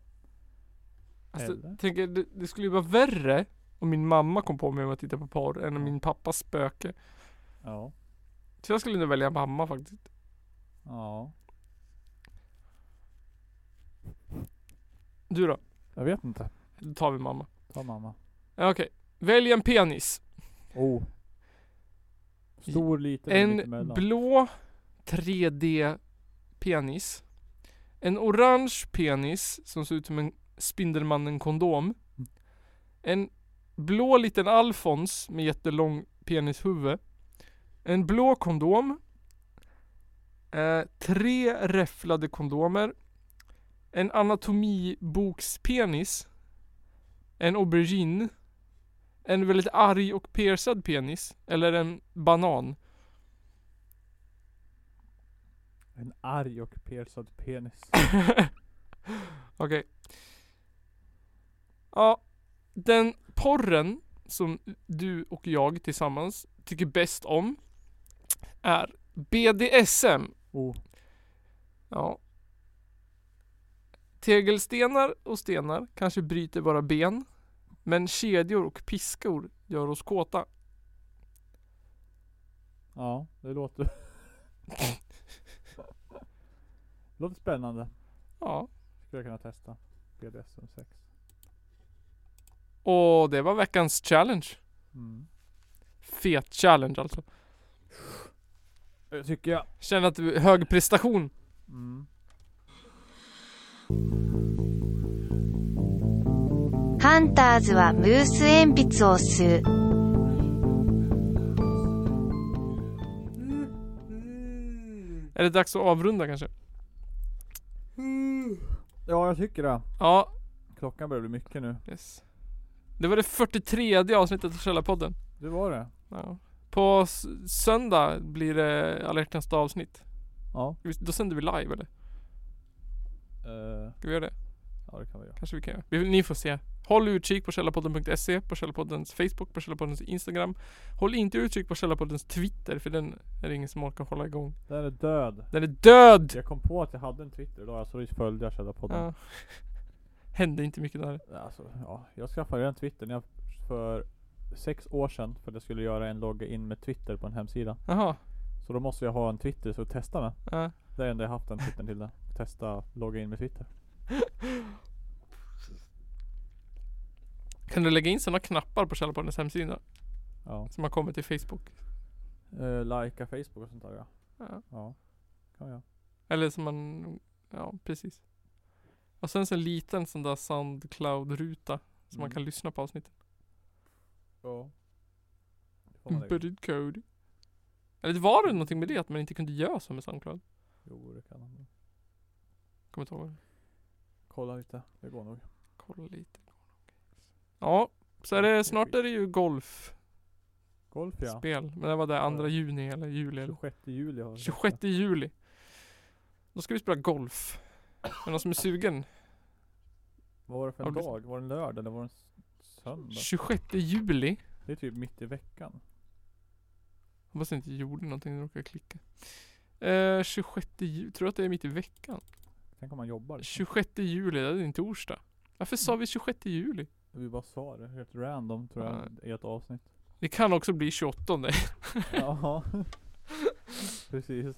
S2: Alltså,
S3: Eller?
S2: tänk, er, det, det skulle ju vara värre om min mamma kom på mig med att titta på porr än om min pappas spöke.
S3: Ja.
S2: Så jag skulle nog välja mamma faktiskt.
S3: Ja.
S2: Du då?
S3: Jag vet inte.
S2: Då tar vi mamma.
S3: Ta mamma.
S2: Ja, Okej. Välj en penis.
S3: Oh. Stor, liten,
S2: En
S3: mittemellan.
S2: blå 3D penis. En orange penis som ser ut som en Spindelmannen-kondom. En blå liten Alfons med jättelång penishuvud. En blå kondom. Eh, tre räfflade kondomer. En anatomibokspenis. En aubergine. En väldigt arg och piercad penis. Eller en banan.
S3: En arg och piercad penis.
S2: Okej. Ja, den porren som du och jag tillsammans tycker bäst om är BDSM.
S3: Oh.
S2: Ja. Tegelstenar och stenar kanske bryter våra ben. Men kedjor och piskor gör oss kåta.
S3: Ja, det låter... låter spännande.
S2: Ja.
S3: Skulle jag kunna testa. BDSM 6.
S2: Och det var veckans challenge.
S3: Mm.
S2: Fet challenge alltså.
S3: Det tycker jag.
S2: Känner att du hög prestation.
S3: Mm.
S1: ハンターズはムース鉛筆を吸う。
S2: Är det dags att avrunda kanske?
S3: Ja, jag tycker det.
S2: Ja,
S3: Klockan börjar bli mycket nu.
S2: Yes. Det var det 43 avsnittet av Källarpodden.
S3: Det var det.
S2: Ja. På s- söndag blir det alla hjärtans dag avsnitt.
S3: Ja.
S2: Visst, Då sänder vi live eller?
S3: Eh,
S2: Ska vi göra det?
S3: ja, det kan vi göra.
S2: Kanske vi kan göra. Vi, ni får se. Håll utkik på källarpodden.se, på Källarpoddens Facebook, på Källarpoddens Instagram. Håll inte utkik på Källarpoddens Twitter för den är det ingen som orkar hålla igång.
S3: Den är död.
S2: Den är död!
S3: Jag kom på att jag hade en Twitter idag. Alltså det följde jag Källarpodden.
S2: Ja. Hände inte mycket där.
S3: Alltså, ja. Jag skaffade en Twitter när jag för sex år sedan. För att jag skulle göra en logga in med Twitter på en hemsida.
S2: Jaha.
S3: Så då måste jag ha en Twitter så att testa med.
S2: Ja.
S3: Det är det enda jag haft den Twittern till. det. Testa logga in med Twitter.
S2: Kan du lägga in sådana knappar på Källarpoddens hemsida?
S3: Ja.
S2: Som har kommit till Facebook?
S3: Uh, Likea Facebook och sånt där ja.
S2: Ja.
S3: Ja. Kan jag.
S2: Eller som man, ja precis. Och sen så en liten sån där Soundcloud-ruta som man
S3: Mm.
S2: kan lyssna på avsnitten.
S3: Ja. Det får man lägga.
S2: Embedded code. Eller var det någonting med det att man inte kunde göra så med Soundcloud?
S3: Jo det kan man.
S2: Kommer inte ihåg.
S3: Kolla lite. Det går nog.
S2: Kolla lite. Ja, så är det, snart är det ju golfspel.
S3: Golf ja.
S2: Men det var det 2 juni eller juli. Eller?
S3: 26 juli har vi
S2: 26 juli. Då ska vi spela golf. Är det någon som är sugen?
S3: Vad var det för
S2: Har
S3: en
S2: du-
S3: dag? Var det en lördag eller var det en s- söndag?
S2: 26 juli?
S3: Det är typ mitt i veckan.
S2: Hoppas jag inte gjorde någonting, jag råkade klicka. Eh, 26 juli, tror du att det är mitt i veckan?
S3: Tänk om man jobbar. liksom.
S2: Mm. 26 juli, det är din torsdag. Varför sa vi 26 juli?
S3: Vi bara sa det helt random tror jag i ett avsnitt.
S2: Det kan också bli 28 nej.
S3: Jaha. Precis.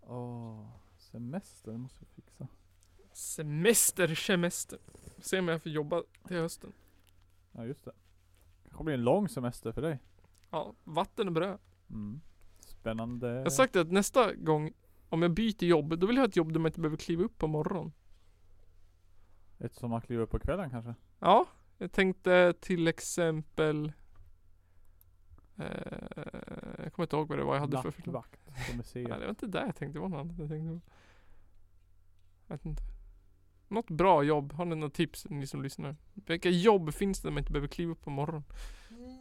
S3: Åh, semester måste vi fixa.
S2: Semester, semester. Se om jag får jobba till hösten.
S3: Ja just det. Kanske blir en lång semester för dig.
S2: Ja, vatten och bröd.
S3: Mm. Spännande.
S2: Jag har sagt att nästa gång om jag byter jobb, då vill jag ha ett jobb där man inte behöver kliva upp på morgonen.
S3: Ett som man kliver upp på kvällen kanske?
S2: Ja, jag tänkte till exempel eh, Jag kommer inte ihåg vad det var jag hade för förslag.
S3: Nattvakt på
S2: Nej,
S3: museet.
S2: det var inte där jag tänkte. Det var något annat jag tänkte på. Jag vet inte. Något bra jobb. Har ni några tips ni som lyssnar? Vilka jobb finns det där man inte behöver kliva upp på morgonen?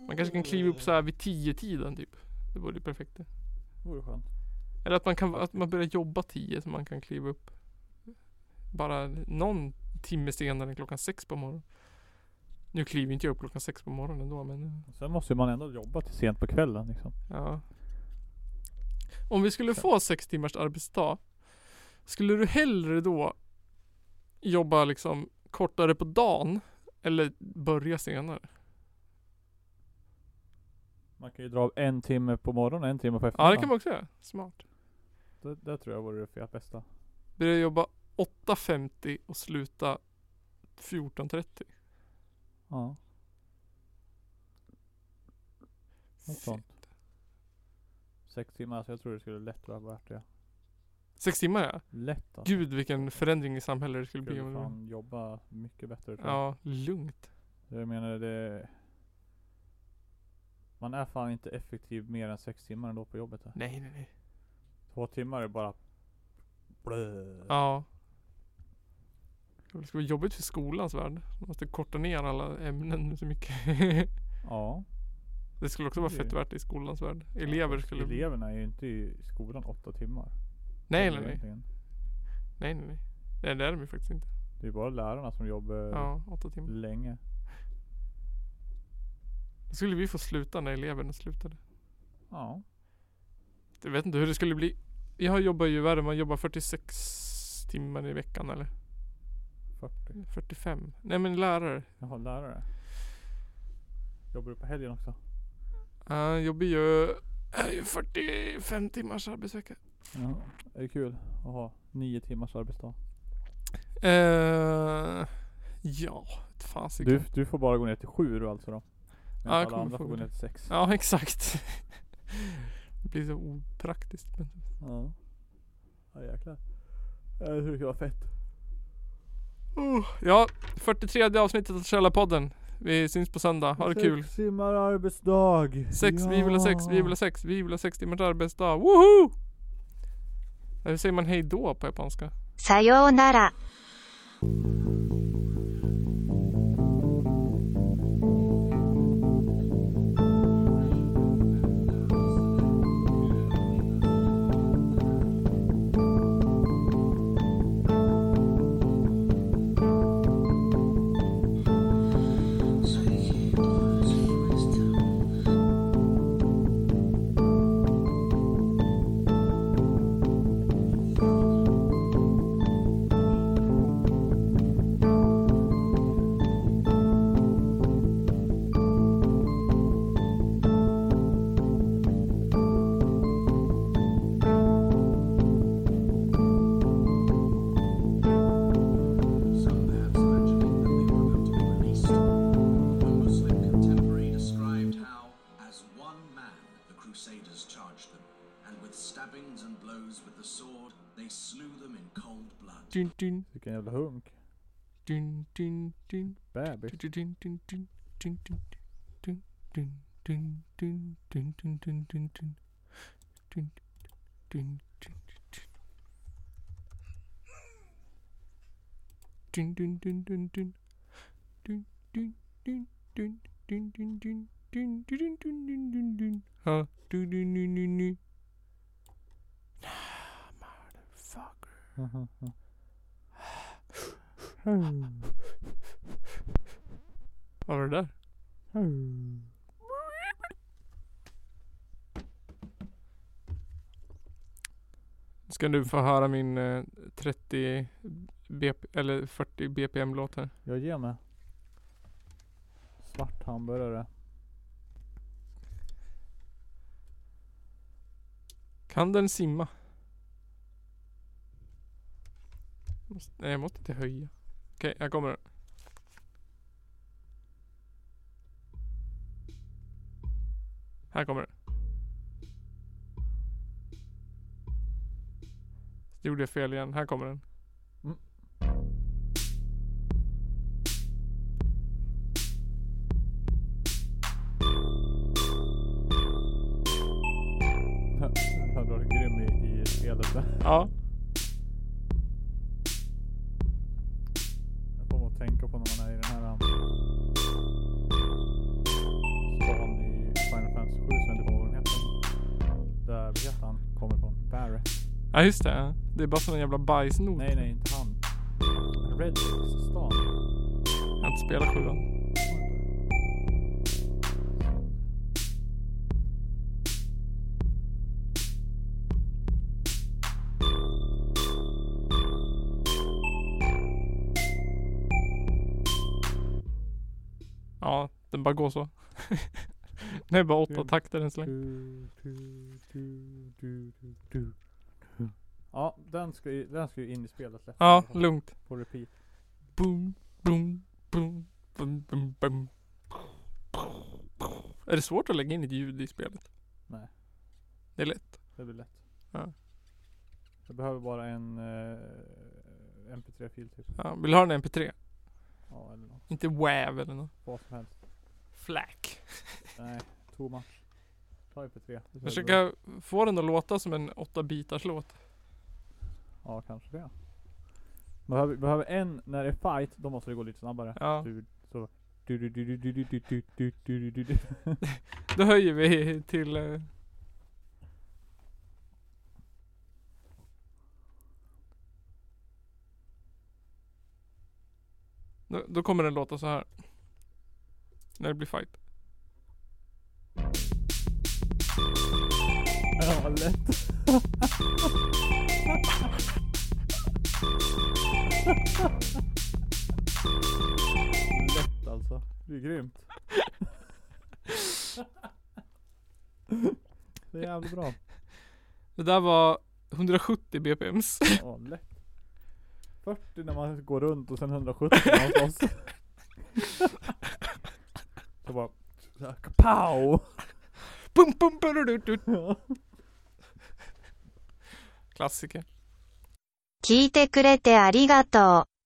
S2: Man kanske kan kliva upp så här vid 10-tiden typ. Det vore ju perfekt det.
S3: Vore skönt.
S2: Eller att man, kan, att man börjar jobba 10 så man kan kliva upp. Bara någon timme senare än klockan 6 på morgonen. Nu kliver inte jag upp klockan 6 på morgonen ändå men eh,
S3: Och Sen måste ju man ändå jobba till sent på kvällen liksom.
S2: ja. Om vi skulle få 6 timmars arbetsdag. Skulle du hellre då jobba liksom kortare på dagen eller börja senare?
S3: Man kan ju dra av en timme på morgonen och en timme på
S2: Ja
S3: eftermiddagen.
S2: det kan man också göra. Smart.
S3: det, det tror jag vore det fe- bästa.
S2: Börja jobba 8.50 och sluta 14.30.
S3: Ja. Något sånt. Sex timmar, alltså jag tror det skulle lätt vara värt det.
S2: 6 timmar ja.
S3: Lätt alltså.
S2: Gud vilken förändring i samhället det skulle bli om
S3: Skulle
S2: det var.
S3: fan jobba mycket bättre tror jag.
S2: Ja, lugnt.
S3: Jag menar det... Man är fan inte effektiv mer än sex timmar ändå på jobbet här.
S2: Nej, nej, nej.
S3: Två timmar är bara... Blö.
S2: Ja. Det skulle vara jobbigt för skolans värld. Man måste korta ner alla ämnen så mycket.
S3: Ja.
S2: det skulle också vara fett värt i skolans värld. Elever skulle...
S3: Eleverna är ju inte i skolan åtta timmar.
S2: Nej, nej, nej.
S3: Egentligen.
S2: Nej, nej, nej. Nej, det är de ju faktiskt inte.
S3: Det är bara lärarna som jobbar
S2: Ja, åtta timmar.
S3: länge.
S2: Då skulle vi få sluta när eleverna slutade.
S3: Ja.
S2: Jag vet inte hur det skulle bli. Jag jobbar ju värre. Man jobbar 46 timmar i veckan eller?
S3: 40.
S2: 45. Nej, men lärare.
S3: Jaha, lärare. Jobbar du på helgen också?
S2: Jag jobbar ju eh, 45 timmars arbetsvecka.
S3: Ja. Är det kul att ha nio timmars arbetsdag?
S2: Eh, ja, ett fasiken.
S3: Du, du får bara gå ner till sju du alltså då?
S2: jag
S3: Medan alla
S2: kommer
S3: andra
S2: få
S3: får
S2: gå
S3: gå ner
S2: ner.
S3: till sex.
S2: Ja, exakt. det blir så opraktiskt. Men...
S3: Ja. Ja jäklar. Jag tror det skulle vara fett.
S2: Oh, ja, 43 avsnittet av Källarpodden. Vi syns på söndag. Ha det kul.
S3: Sex timmar arbetsdag.
S2: Sex, vi vill ha sex, vi vill ha sex, vi vill ha sex timmars arbetsdag. Woho! Hur säger man hej då på japanska?
S1: さようなら。
S7: Some bands imagining that they were going to be released. One Muslim contemporary described how, as one man, the Crusaders charged them, and with stabbings and blows with the sword, they slew them in cold blood.
S2: Dun, dun,
S3: Vilken jävla hunk.
S2: dun, dun, dun,
S3: Bebis.
S2: dun, dun, dun, dun, dun, dun, dun, dun, dun, dun, dun, dun, dun, dun, dun. Dun, dun, dun, dun, dun, dun, dun, dun. Dun, dun, dun, dun, dun, dun, dun, dun, dun, dun, dun, dun, dun. Ha, dun, dun, dun, dun, dun. Ah, motherfucker. Vad var det där? Nu Ska du få höra min eh, 30 BP, eller 40 BPM låt här.
S3: Jag ger mig. Svart hamburgare.
S2: Kan den simma? Måste, nej jag måste inte höja. Okej, jag kommer. Här kommer den. Gjorde jag fel igen. Här kommer den.
S3: Mm. Hade varit grym i, i spelet. där.
S2: Ja.
S3: Jag kommer att tänka på när man är i den här um, stan i Final Fantasy 7 som jag inte kommer ihåg vad den heter. Där, vad heter han? Kommer från. Barrett.
S2: Ja just det. ja. Det är bara som en jävla bajsnot.
S3: Nej, nej, inte han. Red stan.
S2: Jag har inte spelat sjuan. Ja, den bara går så. Det är bara åtta
S3: Kul.
S2: takter än så länge.
S3: Du, du, du, du, du, du. Ja, den ska, ju, den ska ju in i spelet lätt.
S2: Ja, lugnt.
S3: På repeat.
S2: Boom, boom, boom, boom, boom, boom. Är det svårt att lägga in ett ljud i spelet?
S3: Nej.
S2: Det är lätt.
S3: Det blir lätt.
S2: Ja.
S3: Jag behöver bara en eh, mp3-fil typ.
S2: Ja, vill du ha en MP3?
S3: Ja, eller något.
S2: Inte WAV eller något.
S3: Vad som helst.
S2: Flack.
S3: Nej, too much. Ta mp3. Det är så bra.
S2: Försöka få den att låta som en åtta bitars låt.
S3: Ja, kanske det. Behöver, behöver en när det är fight, då måste det gå lite snabbare.
S2: Ja.
S3: Du, så. Du, du, du, du, du, du, du, du, du, du, du, du.
S2: Då höjer vi till... eh, Då, då kommer den låta så här. När det blir fight.
S3: Ja, vad lätt. lätt alltså. Det är grymt. Det är jävligt bra.
S2: Det där var 170 BPMs.
S3: Ja, lätt. 40 när man går runt och sen 170 när man slåss. Så bara såhär, kapow!
S2: Pum, pum, pururururur.
S3: Ja.
S2: Klassiker.
S1: 聞いてくれてありがとう。